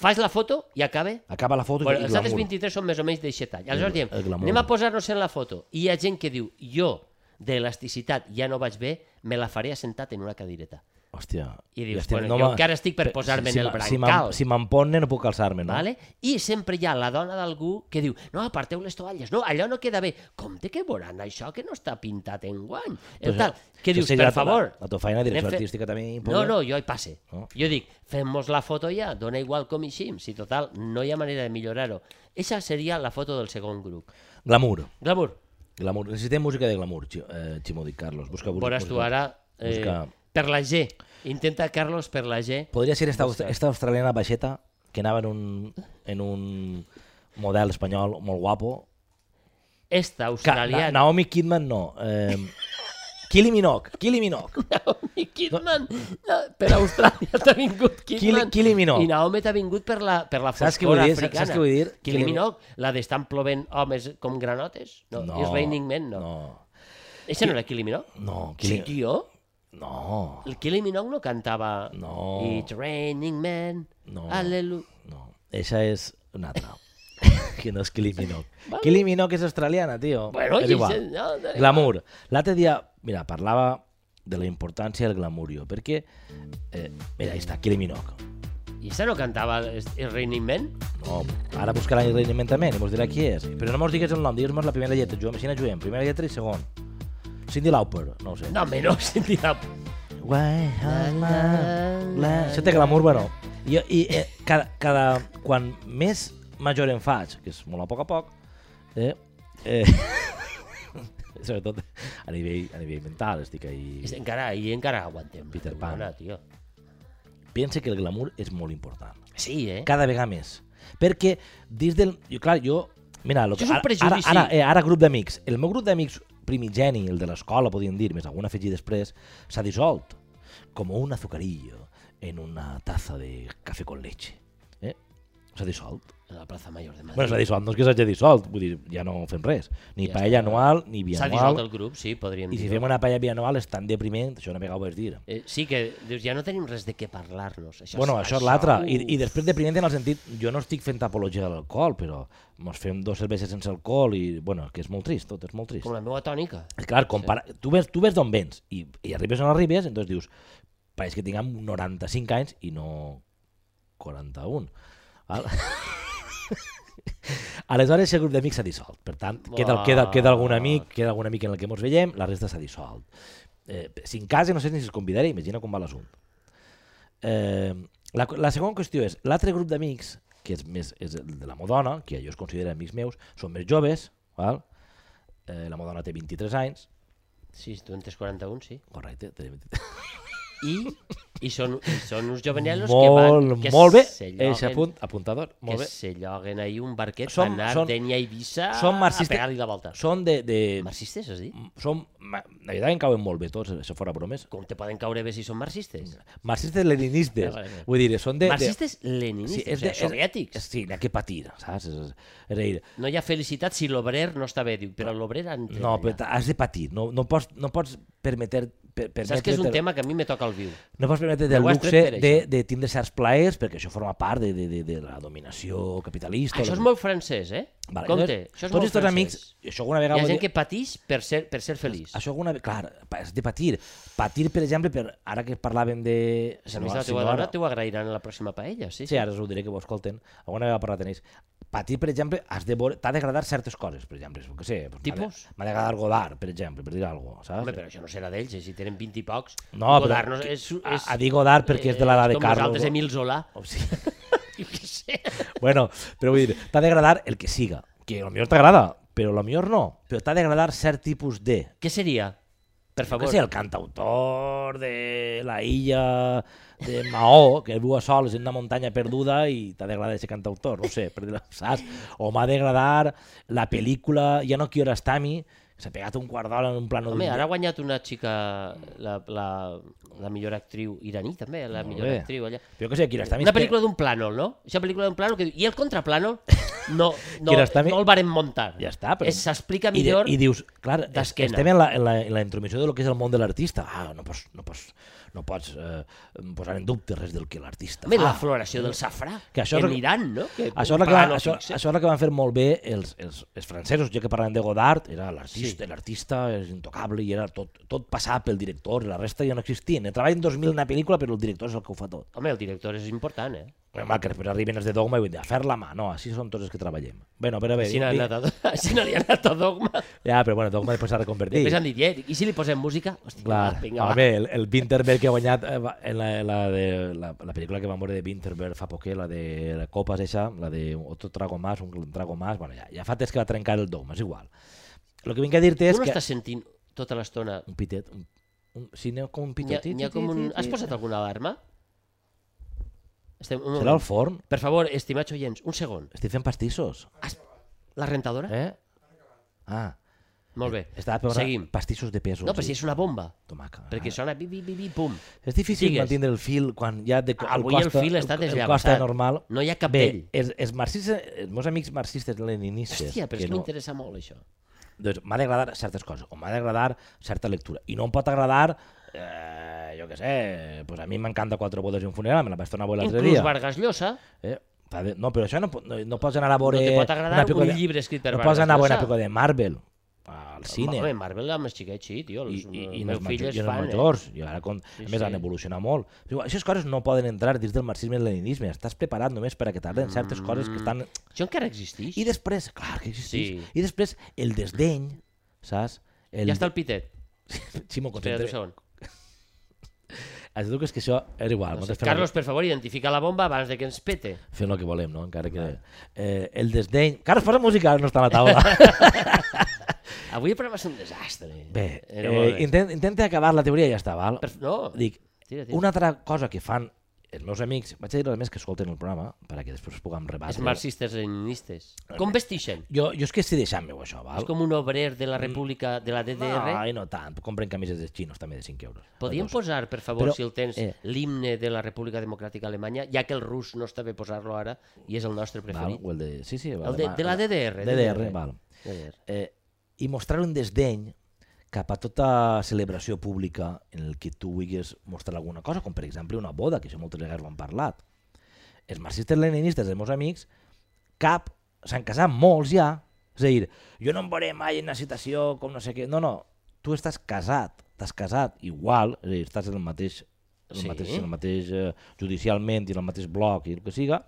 Fas la foto i acaba? Acaba la foto Bueno, i els glamour. altres 23 són més o menys d'eixe tall. Aleshores diem, el glamour. anem a posar-nos en la foto. I hi ha gent que diu, jo, de elasticitat ja no vaig bé, me la faré assentat en una cadireta. Hòstia. I dius, estem- bueno, no jo me- encara estic per Pe- posar-me si, en el ma- si m'em- brancal. Si m'emponne no puc calçar-me, no? Vale? I sempre hi ha la dona d'algú que diu no, aparteu les tovalles, no, allò no queda bé. Compte que veuran això que no està pintat en guany. El tal, que Doncs Això dius, seria per la- favor... La, la teva feina de direcció anem fe- artística també No, important. no, jo hi passe. No. Jo dic, fem-nos la foto ja, dona igual com ixim, si total, no hi ha manera de millorar-ho. Eixa seria la foto del segon grup. Glamour. Glamour, Glamour. Necessitem música de glamour, Xi- eh, Ximo Di Carlos. Busca, busca, veuràs tu música. ara eh, Busca- per la G. Intenta, Carlos, per la G. Podria ser esta, esta australiana baixeta que anava en un, en un model espanyol molt guapo. Esta Que, Na, australiana. Naomi Kidman no. Eh, Kylie Minogue. Kylie Minogue. Naomi Kidman. No, per Austràlia t'ha vingut Kylie- Kidman. Kylie Minogue. I Naomi t'ha vingut per la, per la Saps què foscor vull dir? Saps- africana. saps què vull dir? Kylie Kylie- Minogue, la d'estan plovent homes com granotes. No, no. és Raining Men, no. no. No. Eixa no era Kylie Minogue? No, Sí, Kylie... tio. No. El Kylie Minogue no cantava No. It's raining men, No. Hallelu-". No. Esa és una altra. que no és Kylie Minogue. Kylie Minogue és australiana, tio. Bueno, és i igual. se- no, da- Glamour. L'altre dia, mira, parlava de la importància del glamurio, perquè, eh, mira, ahí està, Kylie Minogue. I esta no cantava It's raining men? No, ara buscarà el rendiment també, i mos dirà qui és. Però no mos digues el nom, digues-mos la primera lletra. Juguem, així na juguem. Primera lletra i segon. Cindy Lauper, no ho sé. No, home, no, sentirà... Why has my glass- Això té glamour, bueno. I, i eh, cada, cada, quan més major em faig, que és molt a poc a poc, eh, eh, sobretot a nivell, a nivell mental, estic ahí... És- Encara, i encara aguantem. Peter Bona, Pan. tio. Pensa que el glamour és molt important. Sí, eh? Cada vegada més. Perquè dins del... Jo, clar, jo Mira, lo Això que, és un ara, ara, prejudici. ara, eh, ara grup d'amics. El meu grup d'amics primigeni, el de l'escola, podríem dir, més algun afegir després, s'ha dissolt. Com un azucarillo en una taza de cafè con leche. Eh? S'ha dissolt. A la plaça Mayor de Madrid. Bueno, s'ha dissolt, no és que s'hagi dissolt, vull dir, ja no fem res. Ni Ja ja paella està. anual, ni S'ha dissolt bianual. el grup, sí, podríem I si dir. fem una paella bianual és tan depriment, això una vegada ho vaig dir. Eh, sí que dius, ja no tenim res de què parlar-nos. Això, bueno, això és l'altre. I, I uf. després depriment en el sentit, jo no estic fent apologia de l'alcohol, però mos fem dos cerveses sense alcohol i, bueno, que és molt trist, tot és molt trist. Com la meva tònica. Clar, compara... tu ves, tu ves d'on vens i, i arribes on arribes, entonces dius, pareix que tinguem 95 anys i no 41. Val? Aleshores, el grup d'amics s'ha dissolt. Per tant, queda, queda, queda algun amic, queda algun amic en el que ens veiem, la resta s'ha dissolt. Eh, si en casa no sé ni si es convidaré, imagina com va l'assumpte. Eh, la, la segona qüestió és, l'altre grup d'amics, que és, més, és el de la Modona, que jo es considero amics meus, són més joves, val? Eh, la Modona té 23 anys, Sí, tu en tens 41, sí. correcte, té 23. I, i són, i són uns jovenelos que van... molt, Que molt bé, se és lloguen- apunt, apuntador, molt bé. que se lloguen ahir un barquet Som- som, per anar són- a Denya i Eivissa som marxistes- a pegar-li la volta. Són de... de Marxistes, has dit? són, ma- la veritat que em cauen molt bé tots, eh, això fora bromes. Com te poden caure bé si són marxistes? Marxistes leninistes, Vale, vale. vull dir, són de... de- marxistes leninistes, o sigui, soviètics. És, sí, n'hi ha que patir, saps? És, és, és, a dir, No hi ha felicitat si l'obrer no està bé, diu, però l'obrer ha entrat No, allà. però has de patir, no, no, pots, no pots permeter... Per, Saps que és un permetre't- tema que a mi me toca al viu. No pots permetre el Ho has tret luxe per de, això. de tindre certs plaers, perquè això forma part de, de, de, de la dominació capitalista. Això la- és molt francès, eh? Vale, Compte, llavors, això és tots molt els teus francès. amics, això alguna Hi vegada... ha ho he gent dit- que patix per ser, per ser feliç. Això alguna vegada... Clar, pa- has de patir. Patir, per exemple, per, ara que parlàvem de... Si a més la teva dona t'ho agrairan a la pròxima paella, sí. Sí, ara us ho diré que ho escolten. Alguna vegada parlat en ells. Patir, per exemple, has de veure... T'ha d'agradar certes coses, per exemple. Que sé, doncs m'ha de- Tipus? M'ha d'agradar Godard, per exemple, per dir alguna cosa, saps? Home, però això no serà d'ells, eh? si tenen 20 i pocs. No, però Godard que- és, a- és, eh, a dir Godard perquè és de l'edat de com Carlos. nosaltres, Emil Zola. O sigui, Jo què sé. bueno, però vull dir, t'ha d'agradar el que siga, que potser t'agrada, però potser no, però t'ha d'agradar cert tipus de... Què seria? Per Que favor. sé, el cantautor de la illa de Maó, que viu a sols en una muntanya perduda i t'ha d'agradar aquest cantautor, no sé, per dir-ho, saps? O m'ha d'agradar la pel·lícula Ja no quiero estar a mi, que s'ha pegat un quart d'hora en un plano Home, d'un- ara ha guanyat una xica, la, la, la millor actriu iraní, també, la Molt millor bé. actriu allà. Però jo que sé, quiero estar a mi... Una pel·lícula d'un plànol, no? És una pel·lícula d'un plànol que diu... I el contraplànol no, no, Quina està mi- no el varen muntar. Ja està, però- Es- S'explica I, de, millor... I dius, clar, es- d'esquena. estem en la, en, la, en la intromissió de lo que és el món de l'artista. Ah, no pots, no pots, no pots eh, posar en dubte res del que l'artista Home, la fa. floració del safrà, Ah, Que que això això és en el- Iran, no? Que Això un és, el que van, plànol això, fixe. això és el que van fer molt bé els, els, els francesos, ja que parlem de Godard, era l'artista, Sí. sí. l'artista és intocable i era tot, tot passat pel director, la resta ja no existien. En treball en 2000 una pel·lícula, però el director és el que ho fa tot. Home, el director és important, eh? Bé, mal, que després arriben els de Dogma i vull dir, a fer la mà, no, així són tots els que treballem. Bueno, però bé, Si no, dic- li ha anat a, si no li ha anat a dogma. ja, però bueno, Dogma després s'ha reconvertit. Després han dit, eh, i si li posem música? Hòstia, Clar, va, a vinga, va. veure, el, el Winterberg que ha guanyat eh, va- en la, la, de, la, la pel·lícula que va moure de Winterberg fa poquet, la de la Copas eixa, la de otro trago más, un trago más, bueno, ja, ja fa temps que va trencar el dom, és igual. El que vinc a dir-te Tu és no que... estàs sentint tota l'estona... Un pitet, un, un, sí, n'hi ha com un N'hi ha, pitet. n'hi ha com un... Has posat alguna alarma? Estem... Serà Un el moment. forn? Per favor, estimats oients, un segon. Estic fent pastissos. Has... La rentadora? Eh? Eh? Ah, Molt bé. estava preparant Seguim. pastissos de pesos. No, però si és una bomba. Tomaca. eh? Perquè sona bi, bi, bi, bi, pum. És difícil Digues. mantenir el fil quan ja de, el Avui el costa, fil està el costa desllavassat. normal. No hi ha cap d'ell. Bé, els, els, marxistes, els meus amics marxistes leninistes... Hòstia, però que és que no- m'interessa molt, això. doncs m'ha d'agradar certes coses, o m'ha d'agradar certa lectura. I no em pot agradar, eh, jo què sé, pues a mi m'encanta Quatre bodes i un funeral, me la vaig tornar a veure l'altre Inclús dia. Vargas Llosa, Eh? t'ha de- No, però això no, po- no, no pots anar a veure... No te pot agradar una pel·lícula un llibre escrit per No Vargas pots anar a veure una Llosa. pel·lícula de Marvel, al cine. Home, Marvel amb els xiquets, sí, tio. Els, I, i, i, el no meu els fill majors, és i no els fan, eh? majors. I ara, com, Sí, a més, sí. han evolucionat molt. Però igual, Aquestes coses no poden entrar dins del marxisme i el leninisme. Estàs preparat només per a que tarden certes coses que estan eh? Això encara existeix. i després, clar que existeix, Sí. i després el desdeny, saps? El... Ja està el pitet. Ximo, Espera't concentra. un segon. Es diu que és que això és igual. No sé, nosaltres fem Carlos, per favor, identifica la bomba abans de que ens pete. el, fem el que volem, no? Encara que... Eh, el desdeny... Carlos, posa música, ara no està a la taula. Avui el programa és un desastre. Bé, Era molt eh, intent, intenta acabar la teoria i ja està, val? Per... No, Dic, tira, tira. una altra cosa que fan els meus amics, vaig a dir a més que escolten el programa perquè després puguem Els rebatre. marxistes leninistes. Com vestixen? Jo, jo és que estic deixant-me això, val? És com un obrer de la Mm. república de la DDR. Ai, no tant. Compren camises de xinos també de 5 euros. Podríem Dos. posar, per favor, Però, si el tens, eh. l'himne de la República Democràtica Alemanya, ja que el rus no està bé posar-lo ara i és el nostre Val, preferit. o el de... Sí, sí, val, El de, va, de la DDR. DDR, val. DDR. Eh, I mostrar un desdeny cap a tota celebració pública en el que tu vulguis mostrar alguna cosa, com per exemple una boda, que això moltes vegades ho han parlat. Els marxistes leninistes dels meus amics, cap, s'han casat molts ja, és a dir, jo no em veuré mai en una situació com no sé què, no, no, tu estàs casat, t'has casat igual, és a dir, estàs en el mateix, en el Sí. mateix, en el mateix eh, judicialment i en el mateix bloc i el que siga,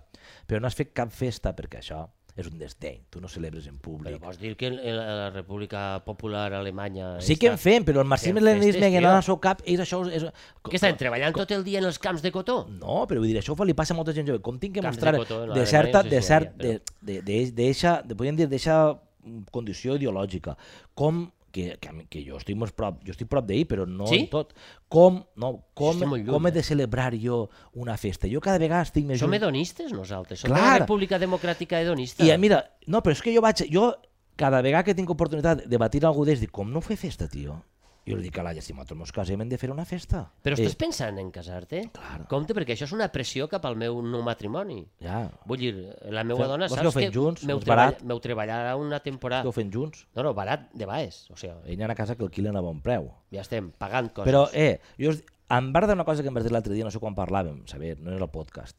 però no has fet cap festa perquè això és un desdeny, tu no celebres en Però públic. vols dir que la, la República Popular Alemanya... Sí que en està- fem, però el marxisme i Fem l'helenisme festes, que tio. anava al seu cap, ells això... És... Què estan treballant tot el dia en els camps de cotó? No, però vull dir, això fa- li passa a molta gent jove. Com tinc que Camps de mostrar cotó, no, de ara certa, no sé de si ho cert, havia, de, de, de, d'eixa- de, podríem dir, d'eixa mm, condició ideològica. Com que, que, a mi- que jo estic molt prop, jo estic prop d'ahir, però no Sí? en tot. Com, no, com, estic molt lluny, com eh? he de celebrar jo una festa? Jo cada vegada estic més Som lluny. hedonistes nosaltres, som Clar. la República Democràtica Hedonista. I eh, mira, no, però és que jo vaig... Jo, cada vegada que tinc oportunitat de batir algú d'ells, dic, com no fer festa, tio? Jo li dic a l'Alla, si m'ha meus casem, hem de fer una festa. Però Eh, estàs pensant en casar-te? Clar. Compte, perquè això és una pressió cap al meu nou matrimoni. Ja, Vull dir, la meva Fem- dona vols que saps ho fem junts? meu, És barat? treball- meu treballarà una que temporada... ho fem junts. No, no, barat de baes. O sigui, Ell anava a casa que el quilen a bon preu. ja estem pagant coses. Però, eh, jo us... em va agradar una cosa que em vas dir l'altre dia, no sé quan parlàvem, saber, no era el podcast.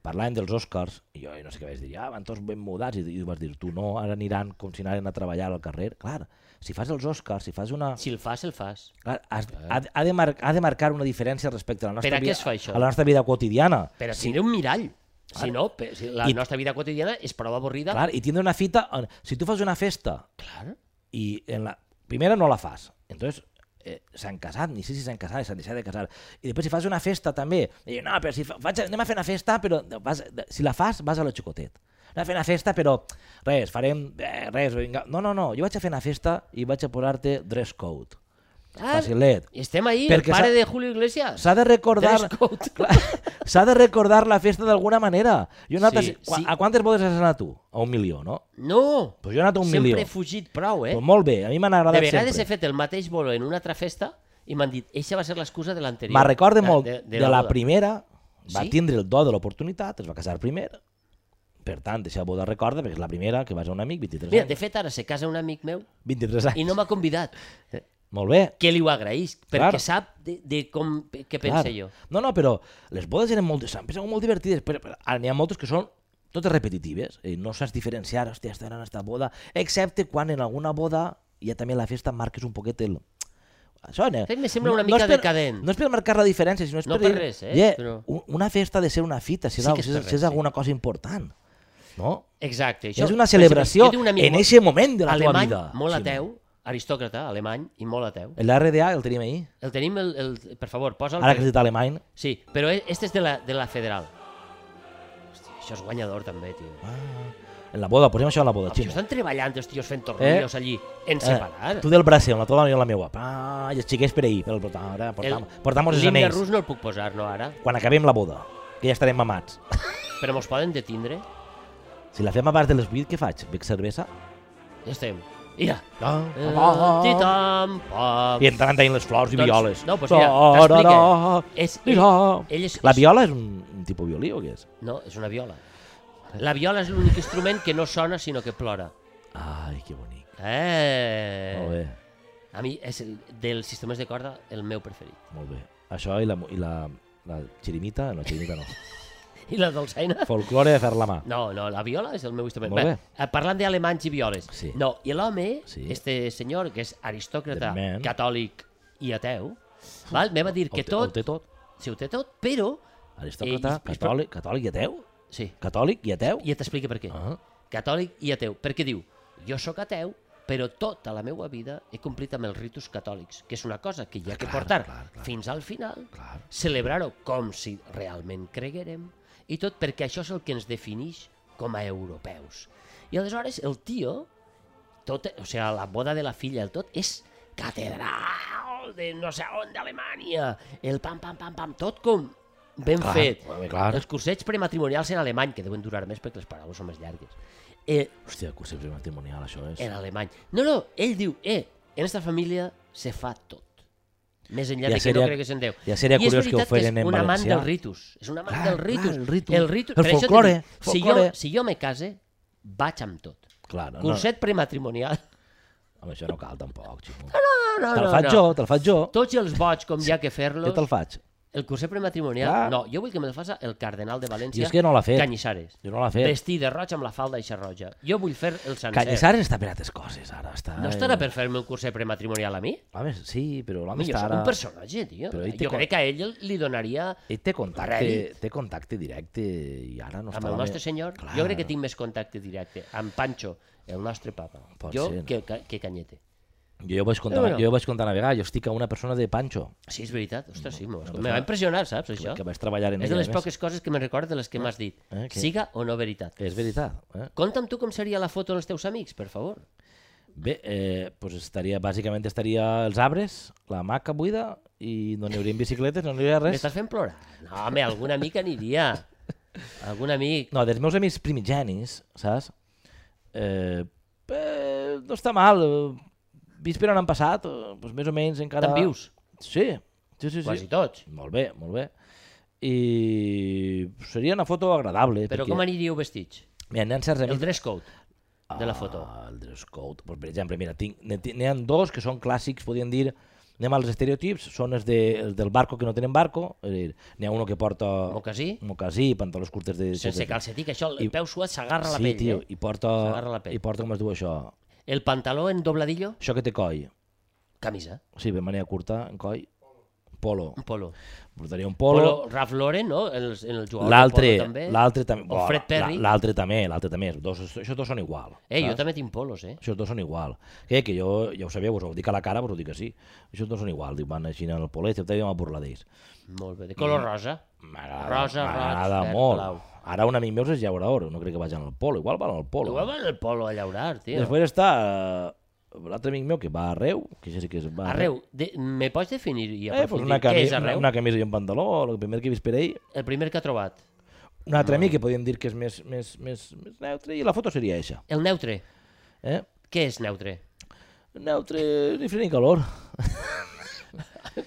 Parlàvem dels Oscars, i jo no sé què vaig dir, ah, van tots ben mudats, i, i vas dir, tu no, ara aniran com si anaren a treballar al carrer. Clar, si fas els Oscars, si fas una... Si el fas, el fas. Clar, has, ha, ha, de mar ha de marcar una diferència respecte a la Eh. nostra, Per a què vida, es fa això? a la nostra vida quotidiana. Però si no un mirall. Si no, pe- si la I- nostra vida quotidiana és prou avorrida. Clar, i tindre una fita... On... Si tu fas una festa Clar. y en la primera no la fas. Entonces, eh, s'han casat, ni sé si s'han casat, s'han deixat de casar. I després si fas una festa també, i, no, però si fa, faig, anem a fer una festa, però vas, si la fas vas a lo xicotet. Anem a fer una festa, però res, farem... Eh, res, vinga. No, no, no, jo vaig a fer una festa i vaig a posar-te dress code. Ah, Facilet. Estem ahí, Perquè el pare s'ha- de Julio Iglesias. S'ha de recordar... Dress code. Clar, S'ha de recordar la festa d'alguna manera. Jo he anat Sí, a, sí. a quantes bodes has anat tu? A un milió, no? No! Pues jo he anat a un Sempre milió. he fugit prou, eh? Pues molt bé, a mi m'han agradat de vegades sempre. he fet el mateix bolo en una altra festa i m'han dit, eixa va ser l'excusa de l'anterior. Me recorde de- molt de, de, de la boda." primera, va Sí? tindre el do de l'oportunitat, es va casar primer, per tant, deixa boda recorda, perquè és la primera que vas a un amic, 23 Mira, de anys. fet, ara se casa un amic meu 23 anys. i no m'ha convidat. Molt bé. Que li ho agraïsc, perquè Clar. sap de, de com, què pensa jo. No, no, però les bodes eren molt, sempre són molt divertides, però, però ara n'hi ha moltes que són totes repetitives, i no saps diferenciar, hòstia, esta era esta boda, excepte quan en alguna boda ja també la festa marques un poquet el... Això, eh? Sí, me sembla una és mica per- decadent. No és per marcar la diferència, sinó és No per, per res, eh, Yeah, però- u- Una festa ha de ser una fita, si, Sí és, algo- que és si, per és, res, si és sí. alguna cosa important. No? Exacte. Això, Això, és una celebració Jo tinc un amic en molt- aquest moment de la alemany, teva vida. molt Simó. ateu, aristòcrata, alemany i molt ateu. L'RDA el tenim ahir, El tenim, el, el, per favor, posa'l. ara que has dit alemany. Sí, però e- este és de la, de la federal. Hòstia, això és guanyador també, tio. Ah, en la boda, posem això en la boda, Això Ximo. Eh? estan treballant els tios fent tornillos allí, en separar. tu del Brasil, la teva i la meua. Pa, I els xiquets per ahir. Pel portam, ara, portam, el, portam els l'himne anells. rus no el puc posar, no, ara? Quan acabem la boda, que ja estarem mamats. Però mos poden detindre? Si la fem abans de les 8, què faig? Bec cervesa? Ja estem. Mira. No. Eh, ah, I titam, pam. entrant tenint les flors i Doncs, violes. Ah, no, pues mira, t'explique. És, Mira. ell és, La és- viola és un, un tipus violí o què és? No, és una viola. La viola és l'únic instrument que no sona, sinó que plora. Ai, que bonic. Eh! Molt bé, A mi és el, dels sistemes de corda el meu preferit. molt bé. Això i la, mu- i la, la xirimita, no, xirimita no. I la dolçaina? Folclore de fer la mà. No, no, la viola és el meu instrument. Molt bé. eh, parlant d'alemanys i violes. Sí. No, i l'home, Sí. sí. este senyor, que és aristòcrata, The man. catòlic i ateu, val? me va dir que Ho té- ho tot, té tot. si ho té tot, però... Aristòcrata, Eh, i- i- catòlic, catòlic i ateu? Sí, Catòlic i ateu? i t'explica per què. Ah. Catòlic i ateu. Perquè diu, jo sóc ateu, però tota la meva vida he complit amb els ritus catòlics, que és una cosa que hi ha que Clar, portar clar, clar. fins al final, Clar. celebrar-ho com si realment creguérem, i tot perquè això és el que ens defineix com a europeus. I aleshores el tio, tot, o sigui, la boda de la filla, el tot, és catedral de no sé on d'Alemanya, el pam, pam, pam, pam, tot com ben Clar, fet. home, clar. Els cursets prematrimonials en alemany, que deuen durar més perquè les paraules són més llargues. Eh, Hòstia, concepte matrimonial, això és. en alemany. No, no, ell diu, eh, en esta família se fa tot. Més enllà Ja ja de que seria, seria- no crec que se'n deu. ja seria I és curiós que ho veritat feien és en un amant valencià. del ritus. És un amant Clar, del clar, ritus. el ritu. El, ritu. El Per això t'he folklore, dit, Si jo, folklore. si jo me case, vaig amb tot. Clar, no, Curset prematrimonial. no, home, això no cal tampoc, xico. No, no, Te'l no, faig no. jo, te'l faig jo. Tots els boig, com hi ha que Jo fer-los, te'l faig. el curset prematrimonial... Clar. No, jo vull que me'l faci el cardenal de Jo València, és que no l'ha fet. Canyissares. Jo no l'ha fet. Vestir de roig amb la falda i roja. Jo vull fer el sencer. Canyissares està per altres coses, ara. Està... eh. No estarà per fer-me un curset prematrimonial a mi? Home, sí, però l'home Home, jo està soc ara... un personatge, tio. Però ell té Jo com- crec que a ell li donaria Ell té contacte, Reddit. té contacte directe i ara no amb està... el la nostre me- senyor. Clar. Jo crec que tinc més contacte directe amb Pancho, el nostre papa. Pot jo Oh, ser, no? que, que, que Canyete. Jo ja ho vaig contar, Però bueno. jo ja ho vaig contar una vegada, jo estic a una persona de Pancho, Sí, és veritat. Ostres, sí, me, no, me no. va impressionar, saps, això? que vaig treballar en És ella, de les a més. poques coses que me'n recordo de les que m'has dit. Eh, que- Siga o no veritat. És veritat. Eh? Conta'm tu com seria la foto dels teus amics, per favor. Bé, eh, pues estaria, bàsicament estaria els arbres, la maca buida, i no n'hi haurien bicicletes, no n'hi hauria res. M'estàs fent plorar? No, home, algun amic aniria. Algun amic. No, dels meus amics primigenis, saps? Eh, eh, no està mal. eh, Vist per on han passat, eh, doncs més o menys encara... Te'n vius? Sí, sí, sí. sí. Quasi tots. Molt bé, molt bé. I seria una foto agradable. Però perquè... com aniríeu vestits? Mira, n'hi ha certs El amics... dress code de la foto. Ah, el dress code. Pues, per exemple, mira, tinc- n'hi n'hi ha dos que són clàssics, podríem dir, anem als estereotips, són els, de, els del barco que no tenen barco, és a dir, n'hi ha uno que porta Mocasí? mocasí, pantalons curtes de... Sense calcetí, que això el I- peu suat s'agarra a la Sí, pell. tio, eh? i porta, S'agarra la pell. i porta, com es diu això? El pantaló en dobladillo, Això que té coll. camisa, Sí, de manera curta, en coll. Polo. un polo. Portaria un Polo, polo. Ralph Lauren, no? El, el jugador del L'altre, polo també. l'altre també. O Fred Perry. la- L'altre també, l'altre també. Els Dos, això dos són igual. Eh, jo saps? també tinc polos, eh? Això dos són igual. Que, que jo ja ho sabia, vos ho dic a la cara, vos ho dic que sí. Això dos són igual. Diu, van així en el polet, sempre vam a burlar d'ells. Molt bé. De Mm. color rosa. M'agrada Rosa, roig, m'agrada verd, molt. blau. Ara un amic meu és llaurador, no crec que vagi en el polo. Igual va en el polo. Igual van el polo a llaurar, tio. Després està eh, l'altre amic meu que va a Reu, que això sí que és... Va a Arreu, de, me pots definir i Eh, pues aprofundir una, què és camisa, una, arreu? una camisa i un pantaló, el primer que he vist per ell. El primer que ha trobat. Un Ah. altre amic que podríem dir que és més, més, més, més neutre i la foto seria eixa. El neutre. Eh? Què és neutre? Neutre, ni fred ni calor.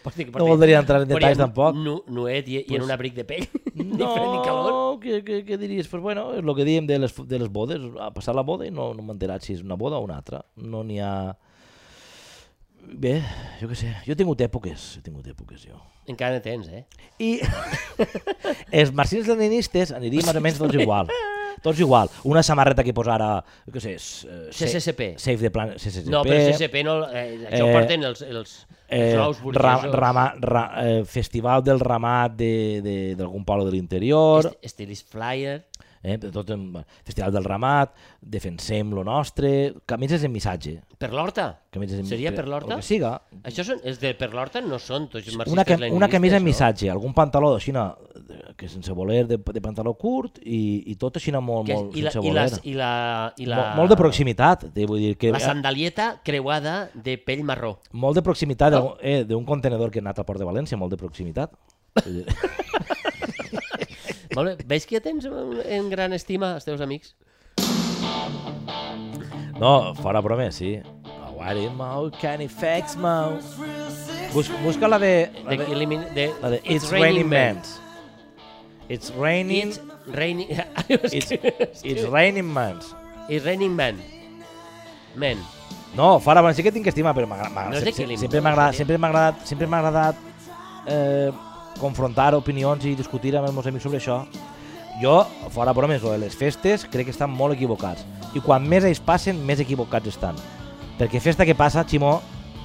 Pots dir que No voldria entrar en detalls tampoc. Nu, nuet i, i en un abric de pell. ni fred ni calor. No, què, què, què diries? Pues bueno, és el que diem de les, de les bodes. A passar la boda i no, no m'he enterat si és una boda o una altra. No n'hi ha... Bé, jo què sé. Jo he tingut èpoques, he tingut èpoques, jo. Encara en tens, eh? I els marxins leninistes anirien més o menys tots igual. Tots igual. Una samarreta que posara, jo què sé, s- eh, CCCP. Save the Planet, CCCP. No, però el CCP no... Eh, això eh, ho porten els, els, els Eh, nous ra, burgesos. rama, ra, eh, festival del ramat de- de- d'algun poble de l'interior, Est- Estilist flyer. eh, de tot, en- festival del ramat, defensem lo nostre, camises en missatge. Per l'horta. Camises en, Seria per l'horta? El que siga. Això són, els de per l'horta no són tots marxistes Una, cam una camisa en leninistes, no? missatge, algun pantaló així, que sense voler, de, de pantaló curt i, i tot així molt, Que és- molt i, la, sense i, voler. la, i, la, i la, Mol- Molt de proximitat, eh, vull dir que... La sandalieta creuada de pell marró. Molt de proximitat d'un- eh, d'un contenedor que ha anat al Port de València, molt de proximitat. Vull dir, Molt bé. Veus que tens en en gran estima els teus amics? No, fora broma, sí. Aguari, mau, can effects, mau. Bus, busca la de... La De, de, elimin- de, la de It's, Raining Men. It's Raining... It's raining... It's, it's, it's Raining Men. raining men. Men. No, fora broma, sí que tinc estima, però m'agrada... m'agrada- No és de se- se- Killing Sempre Moon, m'ha agradat, sí. sempre m'ha agradat, sempre m'ha agradat eh, confrontar opinions i discutir amb els meus amics sobre això. Jo, fora bromes, lo de les festes crec que estan molt equivocats. I quan més ells passen, més equivocats estan. Perquè festa que passa, Ximó,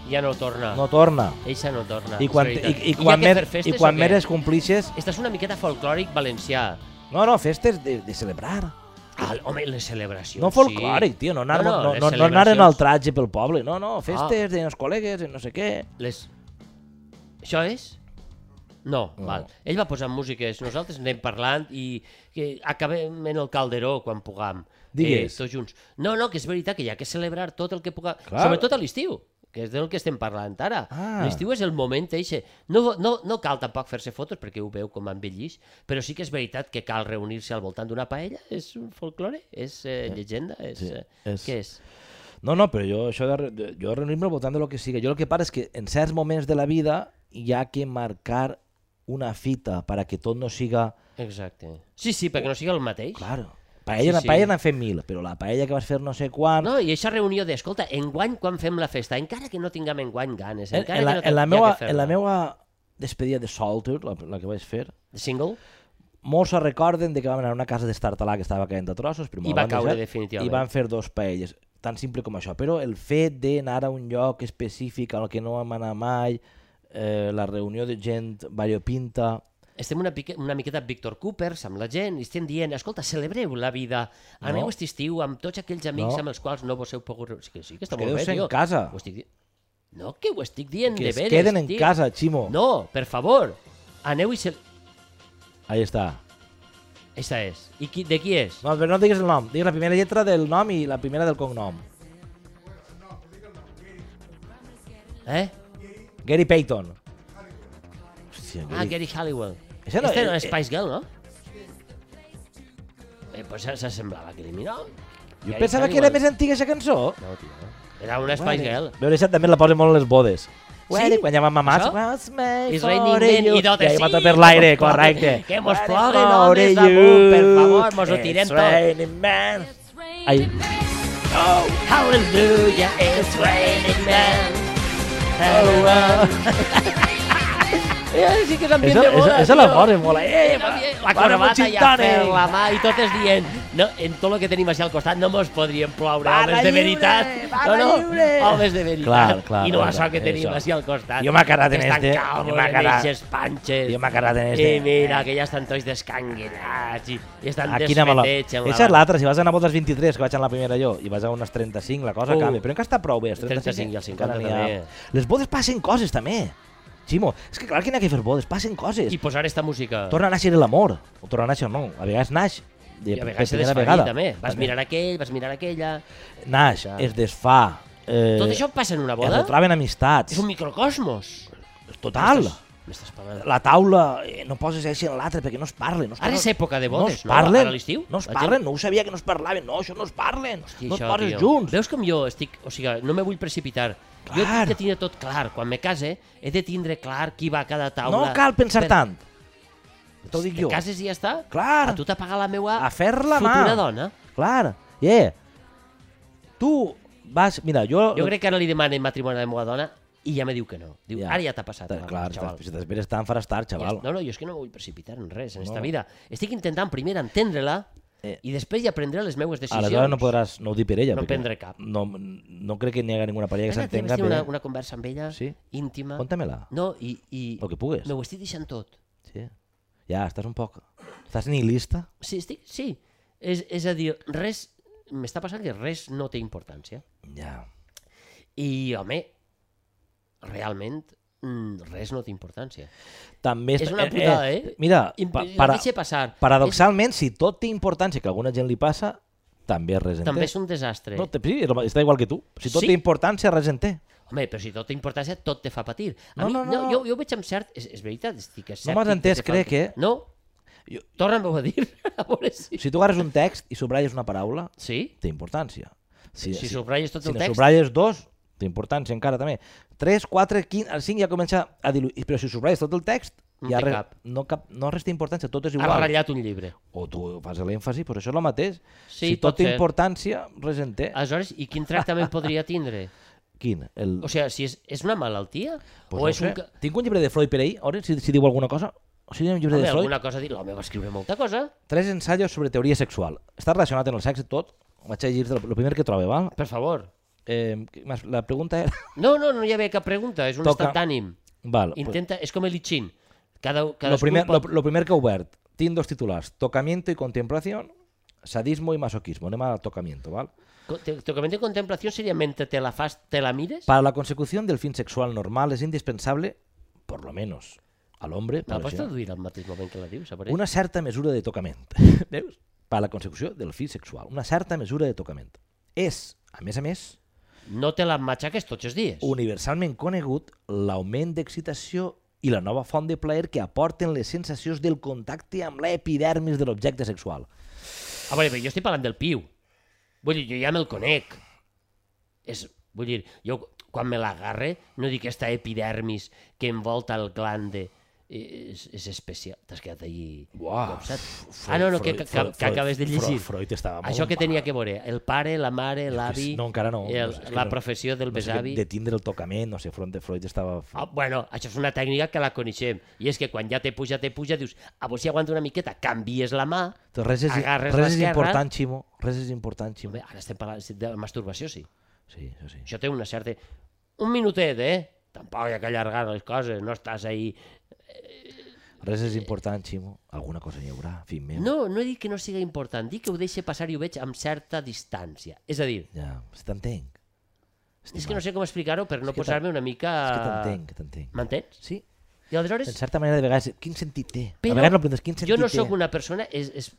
Ja no torna. no torna. Eixa no torna. I quan, és i, veritat. i quan, hi ha que mer, i fer festes quan o més què? es complixes... Estàs una miqueta folclòric valencià. No, no, festes de, de celebrar. Ah, home, les celebracions, No folclòric, sí. tio, no anar, no, no, les no, no anar en celebracions- Ah. el traje pel poble. No, no, festes de els col·legues, de no sé què. Les... Això és? No, no, val. Ell va posant músiques, nosaltres anem parlant i que acabem en el calderó quan pugam. Digues. Eh, tots junts. No, no, que és veritat que hi ha que celebrar tot el que pugam. Clar. Sobretot a l'estiu. que que és del que estem parlant ara. Ah. L'estiu és el moment eixe. No, no, no cal tampoc fer-se fotos perquè ho veu com envellís, però sí que és veritat que cal reunir-se al voltant d'una paella. És un folklore, és eh, llegenda, és, Sí, eh, és- què és? No, no, però jo això de, re- de jo reunir-me al voltant de lo que sigui. Jo el que pare és que en certs moments de la vida hi ha que marcar una fita para que tot no siga... Exacte. Sí, sí, perquè no sigui el mateix. Claro. Paella, sí, Sí, sí. sí. paella n'han fet mil, però la paella que vas fer no sé quan... No, i aquesta reunió de, escolta, enguany quan fem la festa, encara que no tinguem enguany ganes, en, encara en, la, que no en, la tinguem meua, que fer-la. en la meua despedida de Solter, la, la que vaig fer, De single? molts se recorden de que vam anar a una casa d'estartalà que estava caient a trossos, però I me'l va van caure deixar, definitivament. I van fer dos paelles, tan simple com això. Però el fet d'anar a un lloc específic al que no vam anar mai, eh, la reunió de gent variopinta... Estem una, pique, una miqueta Víctor Coopers amb la gent i estem dient, escolta, celebreu la vida, No. aneu aquest estiu amb tots aquells No. amics amb els quals no vos heu pogut... reunir." Sí que, sí, que està Us molt bé, quedeu-se en tio. casa. Ho estic dient. No, que ho estic dient Que de es veres, queden en tio. casa, Ximo. No, per favor, aneu i... Se... Ahí està. Esta és. I qui, de qui és? No, però no digues el nom, digues la primera lletra del nom i la primera del cognom. Eh? Gary Payton. Hòstia, Ah, Gary Halliwell. Això no- este no eh, és eh, Spice Girl, no? Eh, pues se- s'assemblava a aquell minó. Jo pensava que era més antiga aquesta cançó. No, tio. Era una Spice Girl. Veure, això també la posen molt a les bodes. Bueno, quan hi ha mamats... Això? "What's made Is for raining men you?" i dotes, I ahí va sí, tot per l'aire, que mos correcte. ploguen, que mos "What's ploguen for homes you? damunt, per favor, mos ho tirem It's tot." raining men. Ai, Oh, Hallelujah, it's raining man. Oh, Eh, sí que és ambient Esa- de boda, esa- esa la tio. posen molt, eh, Sí, va- ambient- va, la corbata un gin ja per tònic. la mà i totes dient no, en tot el que tenim així al costat no mos podríem ploure Barra homes de lliure, veritat. barra no, no, lliure. homes de veritat. Clar, clar, I no clar, això que clar, tenim això. així al costat. Jo m'ha quedat en este, jo m'ha Jo m'ha quedat- quedat. panxes. jo m'ha quedat en I este. Eh, mira, que ja estan tots descanguinats i, i estan eh. Aquí anem a la... desfetets. amb Eixa és barba. l'altra, si vas anar a voltes 23, que vaig anar a la primera jo, i vas a unes 35, la cosa Uh, canvia. Però encara està prou bé, els 35 i els 50 encara n'hi ha. també. Les bodes passen coses, també. Ximo, és que clar que n'hi ha que fer bodes, passen coses. I posar esta música. Torna a néixer l'amor, o torna a néixer no, a vegades naix. De, I a vegades se primera desfà vegada. Eh, també. Vas mirant aquell, vas mirant aquella... Naix, es desfà. Eh, Tot això passa en una Es boda? retroben amistats. És un microcosmos. Total. M'estàs- M'estàs parlant... La taula, eh, no poses així en l'altre perquè no es parlen. No es Ara és parlen. època de no bodes, es no? Ara parlen, a l'estiu? No es La gent- parlen, no ho sabia que no es parlaven. No, això no es parlen. Hosti, no això, et poses tio. junts. Veus com jo estic... O sigui, no me vull precipitar. Jo Clar. he de tindre tot clar. Quan me case, he de tindre clar qui va a cada taula. No cal pensar Per- tant. T'ho dic jo. Te cases i ja està? Clar. A tu t'apaga la meua A fer la mà. futura dona. Clar. Yeah. Tu vas... Mira, jo... Jo crec que ara li demane matrimoni a la meva dona i ja me diu que no. Diu, Ja. ara ja t'ha passat. home, Clar, xaval. si t'esperes tant faràs tard, xaval. Ja, no, no, jo és que no me vull precipitar en res en esta No. vida. Estic intentant primer entendre-la Eh. i després ja prendré les meues decisions. Aleshores no podràs, no ho dir per ella. No perquè prendré cap. No, no crec que n'hi hagi ninguna parella que Vaig tenir s'entenga bé. una, una conversa amb ella, Sí? íntima. Conta-me-la. No, i, i El que pugues. me ho estic deixant tot. Sí. Ja, estàs un poc... Estàs nihilista? Sí, estic, sí. És, és a dir, res... M'està passant que res no té importància. Ja. I, home, realment, mm, res no té importància. També És una putada, eh? Mira, Imp- pa, la para, deixe passar. paradoxalment, si tot té importància que a alguna gent li passa, també res en També té. és un desastre. No, te, sí, està igual que tu. Si tot Sí. té importància, res en té. Home, però si tot té importància, tot te fa patir. A No, mi, no, no. Jo, jo ho veig amb cert... És, és veritat, estic escèptic. m'has que entès, te fa- crec, eh? No? Jo- Jo... Torna'm-ho a dir. A veure si... Si tu agarres un text i subratlles una paraula, Sí? té importància. Si, Si subratlles tot si el ne text. subratlles dos, té importància encara també. 3, 4, 5, el 5 ja comença a diluir. I- Però si subratlles tot el text, No ja té res- cap. no, cap, no res té importància, tot és Ha igual. ratllat un llibre. O tu fas l'èmfasi, però això és el mateix. Sí, si tot pot té ser. Ah. importància, res en té. Aleshores, i quin tractament podria tindre? Quin? El... O sigui, si és, és una malaltia? Pues o no és sé. un... ca- Tinc un llibre de Freud per ahir, a veure si, si diu alguna cosa. O sigui, un llibre Home, de Freud. alguna cosa a dir, l'home va escriure molta cosa. Tres ensaios sobre teoria sexual. Està relacionat amb el sexe tot. Ho vaig llegir el primer que trobe, val? Per favor. Eh, que m'has- la pregunta era... No, no, no hi havia cap pregunta, és un Toca. estat d'ànim. Val, pues, Intenta, és com el itxin. Cada, cada lo, primer, lo, lo primer que he obert, tinc dos titulars, tocamiento y contemplación, sadismo y masoquismo. Anem al tocamiento, ¿vale? Tocament de contemplació seria mentre te la fas, te la mires? Para la consecución del fin sexual normal es indispensable, por lo menos al hombre, Me la por pots això, traduir al mateix moment que la dius? a veure? Doncs una certa mesura de tocament. Veus? Per a la consecució del fi sexual. Una certa mesura de tocament. És, a més a més, No te la matxaques tots els dies. universalment conegut l'augment d'excitació i la nova font de plaer que aporten les sensacions del contacte amb l'epidermis de l'objecte sexual. A veure, però jo estic parlant del piu. Vull dir, jo ja me'l conec. És, vull dir, jo quan me l'agarre no dic aquesta epidermis que envolta el glande és, és especial. T'has quedat allí... Uau, copsat. Freud- Ah, no, no, que, Freud- que, que, Freud- que acabes de Freud- llegir. Freud estava molt Això que mal. tenia que veure, el pare, la mare, l'avi... No, encara no. El, No sé, és que la no- professió del No sé, besavi... de tindre el tocament, no sé, front de Freud estava... Ah, bueno, això és una tècnica que la coneixem. I és que quan ja te puja, te puja, dius, a veure si aguanta una miqueta, canvies la mà... Entonces, res és, agarres res és l'esquerra. important, Ximo. Res és important, Ximo. Bé, ara estem parlant de masturbació, sí. Sí, això sí. Això té una certa... Un minutet, eh? Tampoc hi ha que allargar les coses, no estàs ahí... Res és important, Ximo. Alguna cosa hi haurà, fill meu. No, no he dit que no siga important, dic que ho deixe passar i ho veig amb certa distància. És a dir, Ja, si t'entenc. és que no sé com explicar-ho per no que posar-me una mica... És que t'entenc, que t'entenc. M'entens? Sí, I aleshores, en certa manera, de vegades, quin sentit té? Però a vegades no preguntes, quin sentit jo no té? sóc una persona... És, és,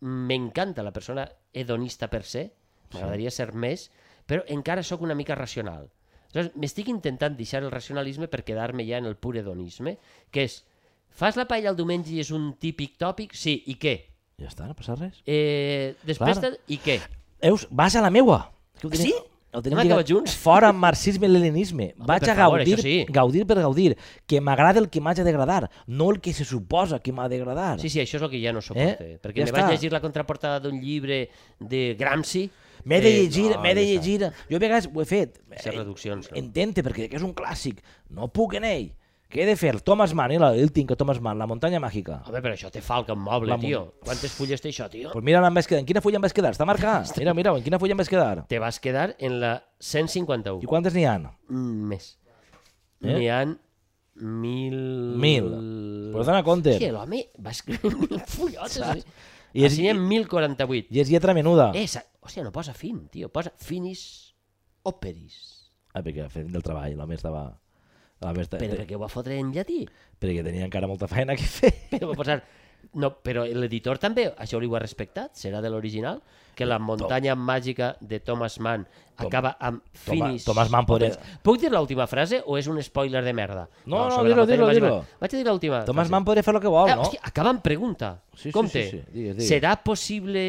M'encanta la persona hedonista per se, m'agradaria ser més, però encara sóc una mica racional. Aleshores, M'estic intentant deixar el racionalisme per quedar-me ja en el pur hedonisme, que és, fas la paella el diumenge i és un típic tòpic? Sí, i què? Ja està, no passa res. Eh, després Clar. de... I què? Eus, vas a la meua. Que ho Ah, Sí? Ho tenim Hem acabat lligat. junts? Fora amb marxisme i leninisme. Vaig a per favor, gaudir, això sí. gaudir per gaudir. Que m'agrada el que m'haig d'agradar, no el que se suposa que m'ha d'agradar. Sí, sí, això és el que ja no suporto. Eh? Eh? Ja Perquè me vaig està. llegir la contraportada d'un llibre de Gramsci. M'he de Eh, llegir, no, m'he de ja està. llegir... Jo a vegades ho he fet. Aquestes reduccions, no. Entente, perquè és un clàssic. No puc en ell. Què he de fer? El Thomas Mann, eh, la- el tinc, el Thomas Mann, la muntanya màgica. Home, però això té falca en moble, La la mu- tio. Quantes fulles té això, tio? Pues mira on em vaig quedar. En quina fulla em vaig quedar? Està marcat. Mira, mira, en quina fulla em vaig quedar. Te vas quedar en la I 151. quantes n'hi han? Mm, Més. Eh? N'hi han mil... Mil. Pues dona compte. Sí, l'home va escriure mil fullotes. Saps? I I és... és- Així n'hi ha 1048. I és lletra menuda. Eh, sa- hòstia, no posa fin, tio. Posa finis operis. Ah, perquè fent del treball, l'home estava... L'home estava... Però per Perquè... què ho va fotre en llatí? perquè tenia encara molta feina que fer. Però, va posar... No, però l'editor també, això ho ha respectat, serà de l'original, que la muntanya màgica de Thomas Mann acaba amb Toma- finis... Thomas Mann podria- opens. Puc dir l'última frase o és un spoiler de merda? No, no, sobre la dilo, muntanya dilo, màgica- dilo. Vaig a dir l'última Thomas frase. Mann podria fer el que vol, Ah, no? hòstia, acaba amb pregunta. Sí, sí, Compte, sí, sí, digues, digues. serà possible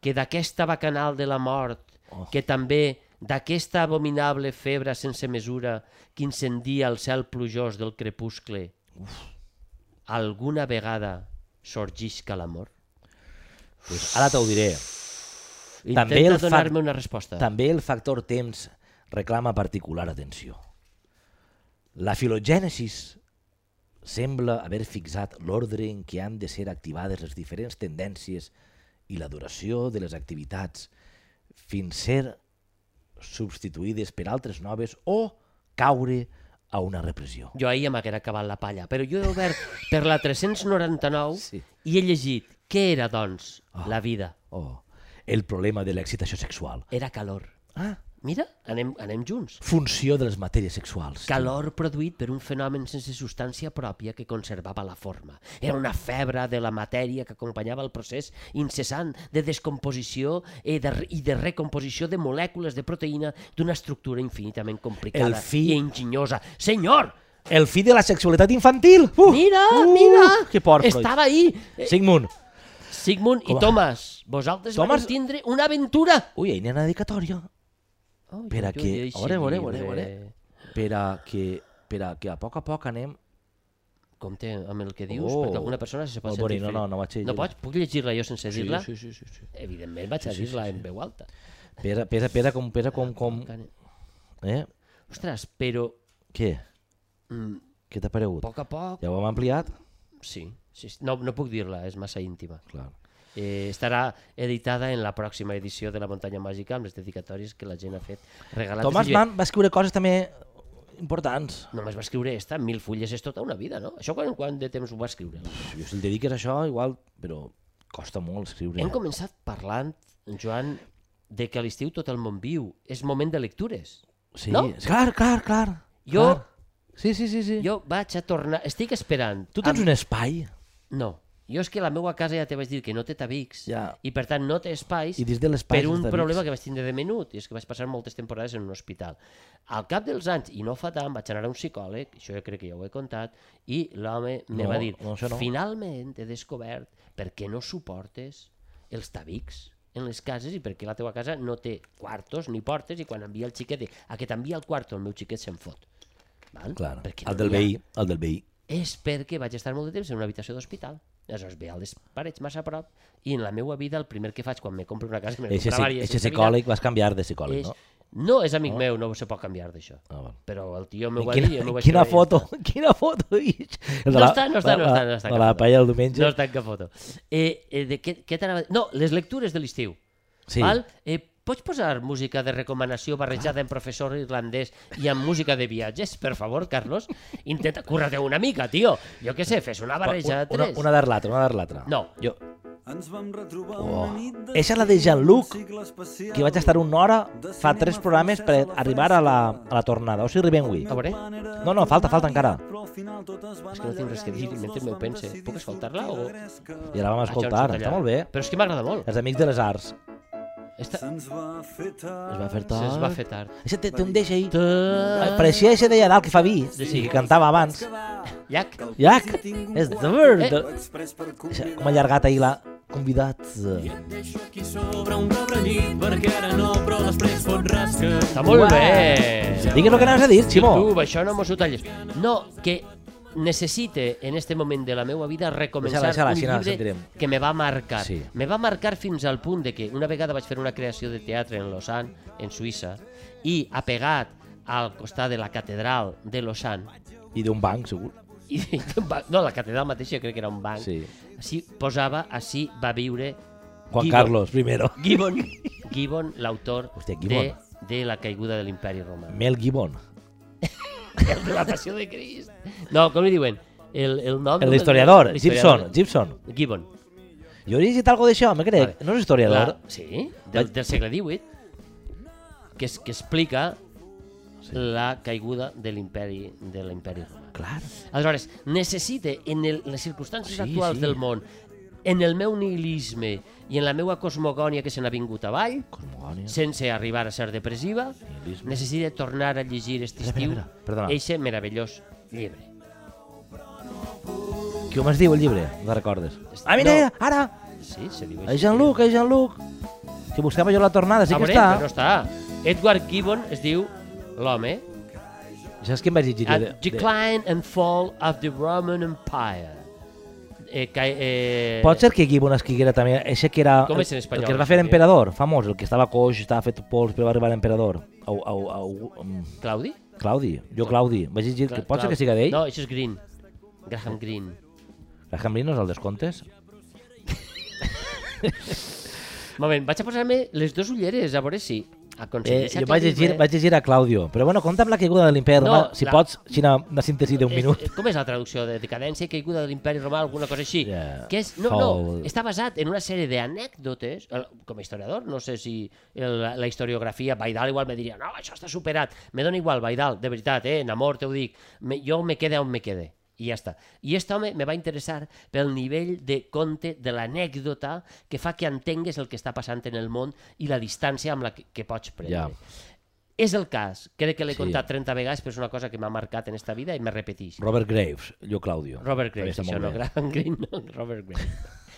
que d'aquesta bacanal de la mort, Oh. que també d'aquesta abominable febre sense mesura que incendia el cel plujós del crepuscle, Uf. alguna vegada sorgisca l'amor? Pues ara t'ho diré. També Intenta el fa- donar-me una resposta. També el factor temps reclama particular atenció. La filogènesis sembla haver fixat l'ordre en què han de ser activades les diferents tendències i la duració de les activitats fins ser substituïdes per altres noves o caure a una repressió. Jo ahir ja m'haguera acabat la palla, però jo he obert per la 399 Sí. Ah. i he llegit què era, doncs, la vida. Oh, el problema de l'excitació sexual. Era calor. Ah, Mira, anem, anem junts. funció de les matèries sexuals. Calor produït per un fenomen sense substància pròpia que conservava la forma. Era una febre de la matèria que acompanyava el procés incessant de descomposició eh, de, re- i de recomposició de molècules de proteïna d'una estructura infinitament complicada El fi- i enginyosa. Senyor! El fi de la sexualitat infantil. Uh, Mira, uh, mira! Que por, Freud. Estava ahí! Eh, Sigmund. Sigmund i Com a- Thomas, vosaltres Thomas... Thomas- van tindre una aventura! Ui, ahir n'hi ha una dedicatòria. Oh, Per a que- ore, ore, ore, ore. Per a que, per a que a poc a poc anem... Compte amb el que dius, Oh. perquè alguna persona se pot Molt sentir... bonic, no, fe- no, no vaig No llegir-la. pots? Puc llegir-la jo sense dir-la? sí, sí. sí. Evidentment vaig a dir-la en veu alta. Pesa, pesa, pesa com... Pesa com, com eh? Ostres, però Què? mm, Què t'ha a paregut? poc a poc... Ja ho hem ampliat? Sí, sí sí. no, no puc dir-la, és massa íntima. Clar. Eh, estarà editada en la pròxima edició de La muntanya màgica amb les dedicatòries que la gent ha fet regalades. Thomas I bé, Mann va escriure coses també importants. Només va escriure esta, mil fulles és tota una vida, no? Això quan, quan de temps ho va escriure? Jo si el dediques a això, igual... Però costa molt escriure. Hem començat parlant, Joan, de que a l'estiu tot el món viu. És moment de lectures. Sí, No? clar, clar, clar. Jo- clar. Sí, sí, sí, sí. Jo vaig a tornar... Estic esperant. Tu tens un espai. No, Jo és que la meva casa ja te vaig dir que no té tabics Ja. i per tant no té espais I dins de l'espai per dels un tabics. problema que vaig tindre de menut, i és que vaig passar moltes temporades en un hospital. Al cap dels anys, i no fa tant, vaig anar a un psicòleg, això jo crec que ja ho he contat, i l'home me No, va dir, no, això no. finalment he descobert per què no suportes els tabics en les cases i perquè la teva casa no té quartos ni portes i quan envia el xiquet dic, a que t'envia el quarto, el meu xiquet se'n fot. Val? Clar, Perquè el no del n'hi ha veí, el del veí. és perquè vaig estar molt de temps en una habitació d'hospital. Aleshores veia les parets massa a prop i en la meva vida el primer que faig quan me compro una casa... Me Eixe, comprava sí, diverses eixe psicòleg, vas canviar de psicòleg, és... no? No, és amic meu, no se pot canviar d'això. Ah, val. Però el tio m'ho I va dir... jo m'ho Quina, vaig quina creure i ja foto, està. quina foto, ix. El de No la- està, no està, no la- està, no està. La, cap la foto. paella del diumenge. No està en cap foto. Eh, eh, de què, què t'anava... a dir? No, les lectures de l'estiu. Sí. Val? Eh, pots posar música de recomanació barrejada amb professor irlandès i amb música de viatges, per favor, Carlos? Intenta, curra una mica, tio. Jo què sé, fes una barreja de una, tres. una dar l'altra, una dar l'altra. No. Jo, Ens vam retrobar Oh. una nit de Eixa és la de Jean-Luc, que que vaig estar una hora fa tres programes per arribar a la, a la tornada. O sigui, arribem avui. A veure. No, no, falta, falta encara. És que no tinc res que dir, mentre m'ho pense. Puc escoltar-la o- I la vam Això ens ho escoltar, tallarà. està molt bé. Però és que m'agrada molt. Els Amics de les Arts. Està... Se'ns va fer tard. Es va fer tard. Se'ns va fer tard. Eixa té, té un deix ahir. Ai, Eh, Pareixia eixa d'allà dalt que fa vi, sí, que cantava abans. Llac. Iac, és dur. Eh. Eixa, Com allargat ahir la convidat. Aquí sobre un rebranyit, perquè ara no, però després fot rasca. Està molt Uau. bé. Digues el que anaves a dir, Ximo. YouTube, això no mos ho talles. No, que necessite en este moment de la meva vida recomençar Deixa-la, deixa-la, un així la llibre sentirem. que me va marcar. Sí. Me va marcar fins al punt de que una vegada vaig fer una creació de teatre en Lausanne, en Suïssa, i apegat al costat de la catedral de Lausanne, I d'un banc, segur. i, d'un banc- no, la catedral mateixa crec que era un banc, Sí. així posava, així va viure Juan Guido. Carlos, primero. Gibbon, Gibbon l'autor Hòstia, de, Gibbon. de la caiguda de l'imperi romà. Mel Gibbon. El de la passió de Crist. No, com li diuen? El, el nom... El historiador, l'historiador. Gibson, Gibson. Gibbon. Jo he llegit algo d'això, me crec. Vale. No és historiador. La, sí, del, del segle XVIII, que, es, que explica la caiguda de l'imperi de l'imperi romà. Clar. Aleshores, necessite, en el, les circumstàncies Sí, sí, actuals sí. sí. del món, en el meu nihilisme i en la meva cosmogònia que se n'ha vingut avall, Cosmogònia. sense arribar a ser depressiva, Nihilisme. necessita tornar a llegir aquest Espera, estiu espera, espera. Perdona. eixe meravellós llibre. Com es diu el llibre? No te'n recordes. Ah, mira, No. ara! Sí, se diu És Jean-Luc, és Jean-Luc. Que buscava jo la tornada, sí Ah, que veurem, està. però no està. Edward Gibbon es diu l'home. Saps què em vaig llegir? jo At de- de- Decline and Fall of the Roman Empire. Eh, que, eh, Pot ser que Gibbon escriguera també, això que era Com és en el, espanyol, el que es va fer eh? emperador, famós, el que estava coix, estava fet pols, però va arribar emperador. Au, au, au, um, Claudi? Claudi, jo Claudi, vaig llegir que Cla- pot ser Claudi. que siga d'ell. No, això és Green. Graham Green. Graham Greene no és el descomptes? Moment, vaig a posar-me les dues ulleres, a veure si Eh, aconsegueix jo vaig llegir, aclarir-me. vaig llegir a Claudio, però bueno, compta amb la caiguda de l'imperi No, romà, si la- Eh, pots, Xina, una síntesi d'un És- minut. Com és la traducció de decadència i caiguda de l'imperi romà, alguna cosa així? Yeah. Que és, no, Fall. no, està basat en una sèrie d'anècdotes, el- com a historiador, no sé si el, la historiografia, Baidal igual me diria, no, això està superat, me dona igual, Baidal, de veritat, eh, en amor te ho dic, me, jo me quede on me quede. I ja està. I aquest home me va interessar pel nivell de conte de l'anècdota que fa que entengues el que està passant en el món i la distància amb la que, que pots prendre. Ja. És el cas. Crec que l'he Sí. sí. contat 30 vegades, però és una cosa que m'ha marcat en esta vida i me repeteix. Robert Graves, jo Claudio. eh. Robert Graves, També està això molt no, bé. Graham Greene, no, Robert Graves.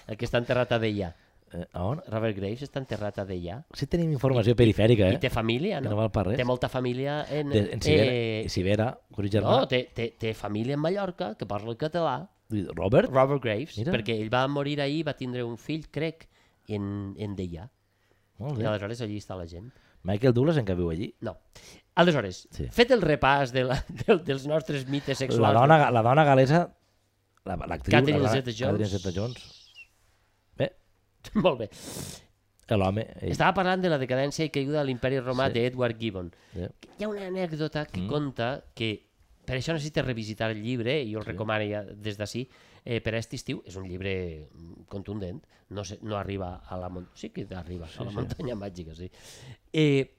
El que està enterrat a Deià. Eh, a on? Robert Graves està enterrat a Deià. Sí tenim informació perifèrica, Eh? eh? I té família, Que no? no val per res. Té molta família en... De, en Sibera, eh... Sibera, curi germà. no, té, té, té família en Mallorca, que parla el català. Robert? Robert Graves, Mira. Mira. perquè ell va morir ahir i va tindre un fill, crec, en, en Deià. Molt I bé. aleshores allí està la gent. Michael Douglas en què viu allí? No. Aleshores, Sí. sí. fet el repàs de la, del, dels nostres mites sexuals... La dona, la dona galesa, la- l'actriu... la Catherine gal- Zeta-Jones. Catherine Zeta-Jones. Bé, eh, Molt bé. l'home... ell. Estava parlant de la decadència i caiguda de l'imperi romà Sí. sí. d'Edward Gibbon. Sí. Hi ha una anècdota que mm. conta que per això necessites revisitar el llibre, i jo el sí. recomano ja des d'ací, eh, per a aquest estiu. És un llibre mm, contundent, no, sé, no arriba a la muntanya... Sí que arriba, sí, a la sí. sí. muntanya màgica, sí. Eh,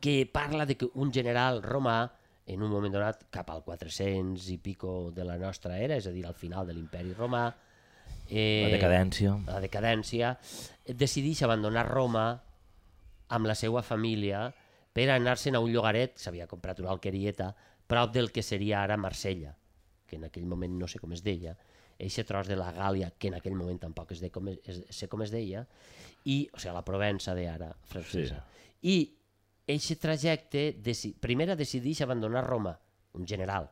que parla de que un general romà en un moment donat, cap al 400 i pico de la nostra era, és a dir, al final de l'imperi romà, eh, La decadència. la decadència, decideix abandonar Roma amb la seva família per anar-se'n a un llogaret, s'havia comprat una alquerieta, prop del que seria ara Marsella, que en aquell moment no sé com es deia, eixe tros de la Gàlia, que en aquell moment tampoc es de com es, es, sé com es deia, i, o sigui, la Provença d'ara, francesa. Sí. I eixe trajecte, deci primer decideix abandonar Roma, un general,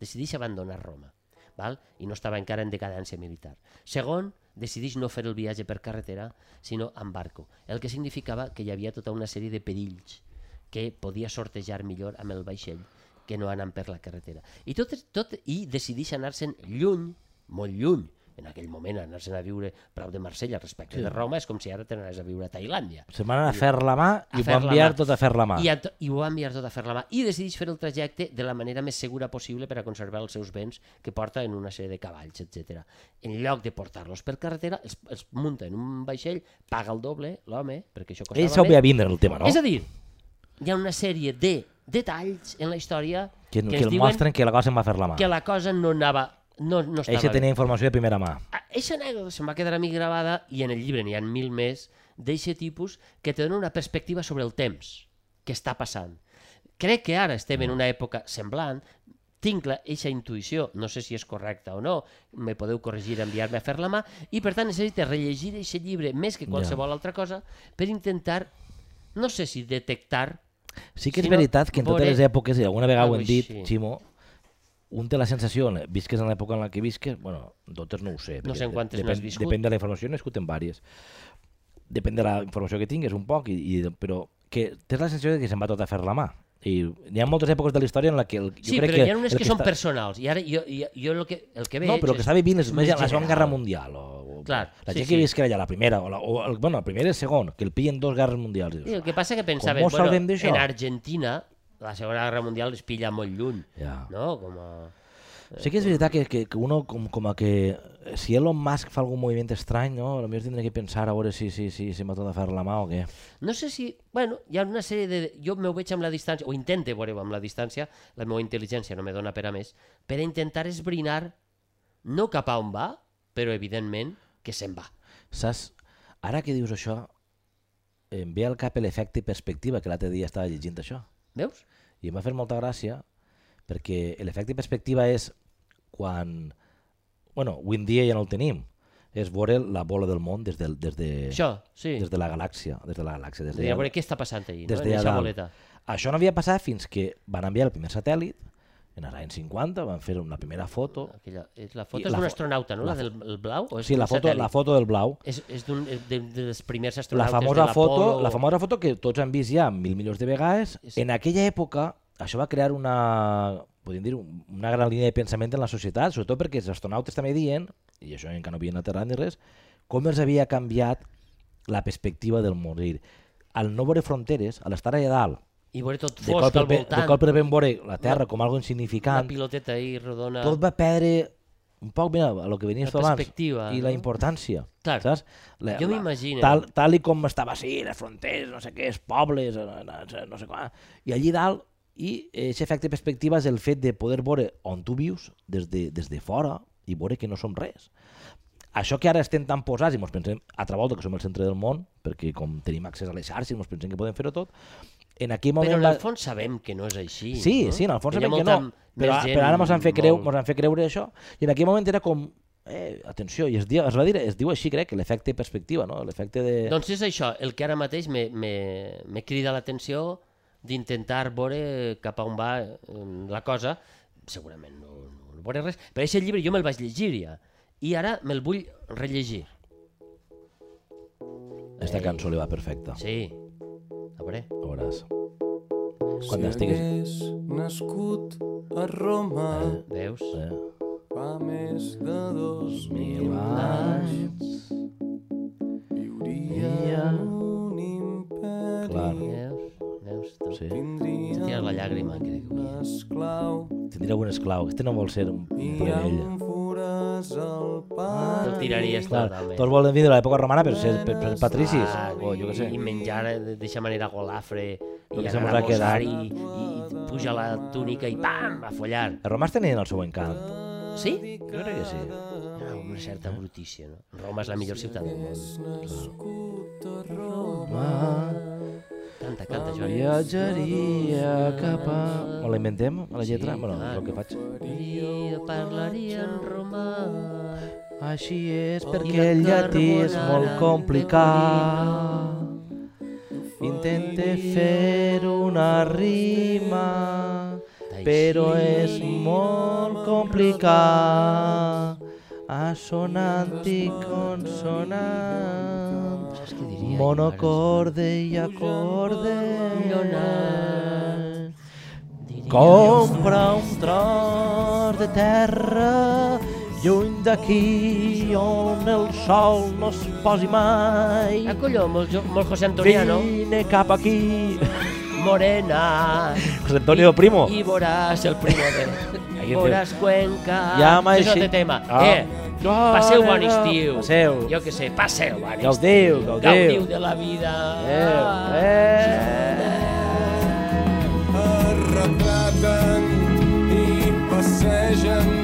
decideix abandonar Roma, val? i no estava encara en decadència militar. Segon, decideix no fer el viatge per carretera, sinó amb barco, el que significava que hi havia tota una sèrie de perills que podia sortejar millor amb el vaixell que no anant per la carretera. I, tot, tot, i decideix anar-se'n lluny, molt lluny, en aquell moment anar-se'n a viure prop de Marsella respecte sí. de Roma és com si ara t'anaves a viure a Tailàndia. Se'n van anar a fer la mà A i ho fer va la enviar mà. tot a fer la mà. I, a, to- I ho va enviar tot a fer la mà. I decideix fer el trajecte de la manera més segura possible per a conservar els seus béns que porta en una sèrie de cavalls, etc. En lloc de portar-los per carretera, els, els munta en un vaixell, paga el doble l'home, perquè això costava Ell s'ho ve a més. vindre el tema, no? És a dir, hi ha una sèrie de detalls en la història que, que, que, ens el diuen mostren que la cosa em va fer la mà. que la cosa no anava... No, no estava Eixa bé. tenia informació de primera mà. Ah, Eixa anècdota se'm va quedar a mi gravada i en el llibre n'hi ha mil més d'eixe tipus que te donen una perspectiva sobre el temps que està passant. Crec que ara estem en una època semblant, tinc la, eixa intuïció, no sé si és correcta o no, me podeu corregir, enviar-me a fer la mà, i per tant necessite rellegir eixe llibre més que qualsevol altra cosa per intentar, no sé si detectar, Sí que és si Si no, Ah, veritat que en totes veuré- les èpoques, i alguna vegada ho Algo hem dit, així. Ximo, un té la sensació, eh, visques en l'època en la que visques, bueno, en totes no ho sé. No sé perquè en quantes depèn, n'has viscut. Depèn de la informació, n'he viscut en vàries. Depèn de la informació que tingues, un poc, i, i, però que tens la sensació de que se'n va tot a fer la mà. I hi ha moltes èpoques de la història en la que... El, Sí, jo crec però que hi ha unes el que, són està- personals. I ara jo, jo, jo el que, el que veig... No, però el que està vivint és més la Segona general. Guerra Mundial. O, o Clar, la sí, gent sí. que visca allà, la primera, o, la, o el, bueno, la primera i el segon, que el pillen dos guerres mundials. Sí, Dius, el que passa que pensaven, mos bueno, salvem d'això? en Argentina la Segona Guerra Mundial es pilla molt lluny, Ja. no? eh, Com a... Sí que és veritat que, que, que uno com, com a que si Elon Musk fa algun moviment estrany, no? potser tindré que pensar a veure si, si, si, si m'ha tot de fer la mà o què. No sé si... Bueno, hi ha una sèrie de... Jo m'ho veig amb la distància, o intente veure amb la distància, la meva intel·ligència no me dona per a més, per a intentar esbrinar no cap a on va, però evidentment que se'n va. Saps? Ara que dius això, em ve al cap l'efecte perspectiva, que l'altre dia estava llegint això. Veus? I em va fer molta gràcia, perquè l'efecte perspectiva és quan... Bueno, avui en dia ja no el tenim. És veure la bola del món des de, des de, Això, sí. des de la galàxia. Des de la galàxia. Des De de, dir, a veure què està passant allà, des de no? en allà aquesta dalt. boleta. Això no havia passat fins que van enviar el primer satèl·lit, en els anys 50, van fer una primera foto. Aquella, és la foto I és la d'un fo- astronauta, no? La, la del el blau? O és Sí, la d'un foto, la Doncs satèl·lit? foto del blau. És, és d'un eh, de, dels primers La astronautes famosa, de foto, l'Apolo. la famosa foto que tots han vist ja mil milions de vegades. Sí. En aquella època, això va crear una, podríem dir, una gran línia de pensament en la societat, sobretot perquè els astronautes també dient, i això encara no havien aterrat ni res, com els havia canviat la perspectiva del món. És a dir, al no veure fronteres, a l'estar allà dalt, I veure tot de fosc colp, al de, de voltant. colp de ben veure la Terra Una- com algo una insignificant, piloteta ahí rodona. tot va perdre un poc, mira, el que venies La tu abans, i perspectiva, no? la importància, Clar. saps? La, Jo la- m'imagino. Tal, tal i com estava així, les fronteres, no sé què, els pobles, eh, no, sé- no sé quan, i allí dalt, i aquest efecte perspectiva és el fet de poder veure on tu vius des de, des de fora i veure que no som res. Això que ara estem tan posats i ens pensem a travolta que som el centre del món, perquè com tenim accés a les xarxes ens pensem que podem fer-ho tot, en aquell moment... Però en va- el fons sabem que no és així. Sí, no? sí, en el fons hi ha sabem que molta no. més Però, gent però ara mos han, fet creu, molt- mos han fet creure això. I en aquell moment era com... Eh, atenció, i es, dia, es va dir, es diu així, crec, que l'efecte perspectiva, no? L'efecte de... Doncs és això, el que ara mateix me, me, me crida l'atenció d'intentar veure cap a on va eh, la cosa. Segurament no, no veuré res, però aquest llibre jo me'l vaig llegir ja. I ara me'l vull rellegir. Aquesta cançó li va perfecta. Sí. Sí. A veure. Ho veuràs. Quan estiguis... hagués nascut a Roma Veus? Eh, fa més de dos mil mil anys viuria en un clar. imperi Veus? Veus? Tu? Sí. tindria Tira la llàgrima, crec que un avui. esclau Tindré algun esclau. Este no vol ser un, i un ell. amb fures al Te'l pati tiraries Clar, totalment. tots volen vindre a l'època romana per ser, per, per patricis, Ah, o jo què sé. I menjar de- d'aquesta manera golafre i que anar se mos a ha mosar quedat. i, i, i puja la túnica i pam, a follar. Els romans tenien el seu encant. Sí? Jo crec que sí. Era una certa brutícia, no? Roma és la millor ciutat del món. Canta, canta, Joan. Viatjaria cap a... Me la inventem, a la lletra? Sí, bueno, és el que faig. Dia parlaria en romà. Així és, I la perquè el llatí és carbonara molt em complicat. Intente fer una rima, però és molt complicat. Assonant i consonant. Saps què diria jo, Monocorde i acorde. Collonat. Diria Compra un tros de terra lluny d'aquí on el sol no es posi mai. Ah, colló, molt, jo- molt José Antoniano. Vine cap aquí. Morena. José Antonio Primo. I voràs el primo de... Ahí voràs Cuenca. Llama Això és així. altre tema. Ah. Eh, passeu bon estiu. Passeu. Jo què sé, passeu bon estiu. Gaudiu, Gaudiu gaudiu. de la vida. Adéu. Eh. es retraten i passegen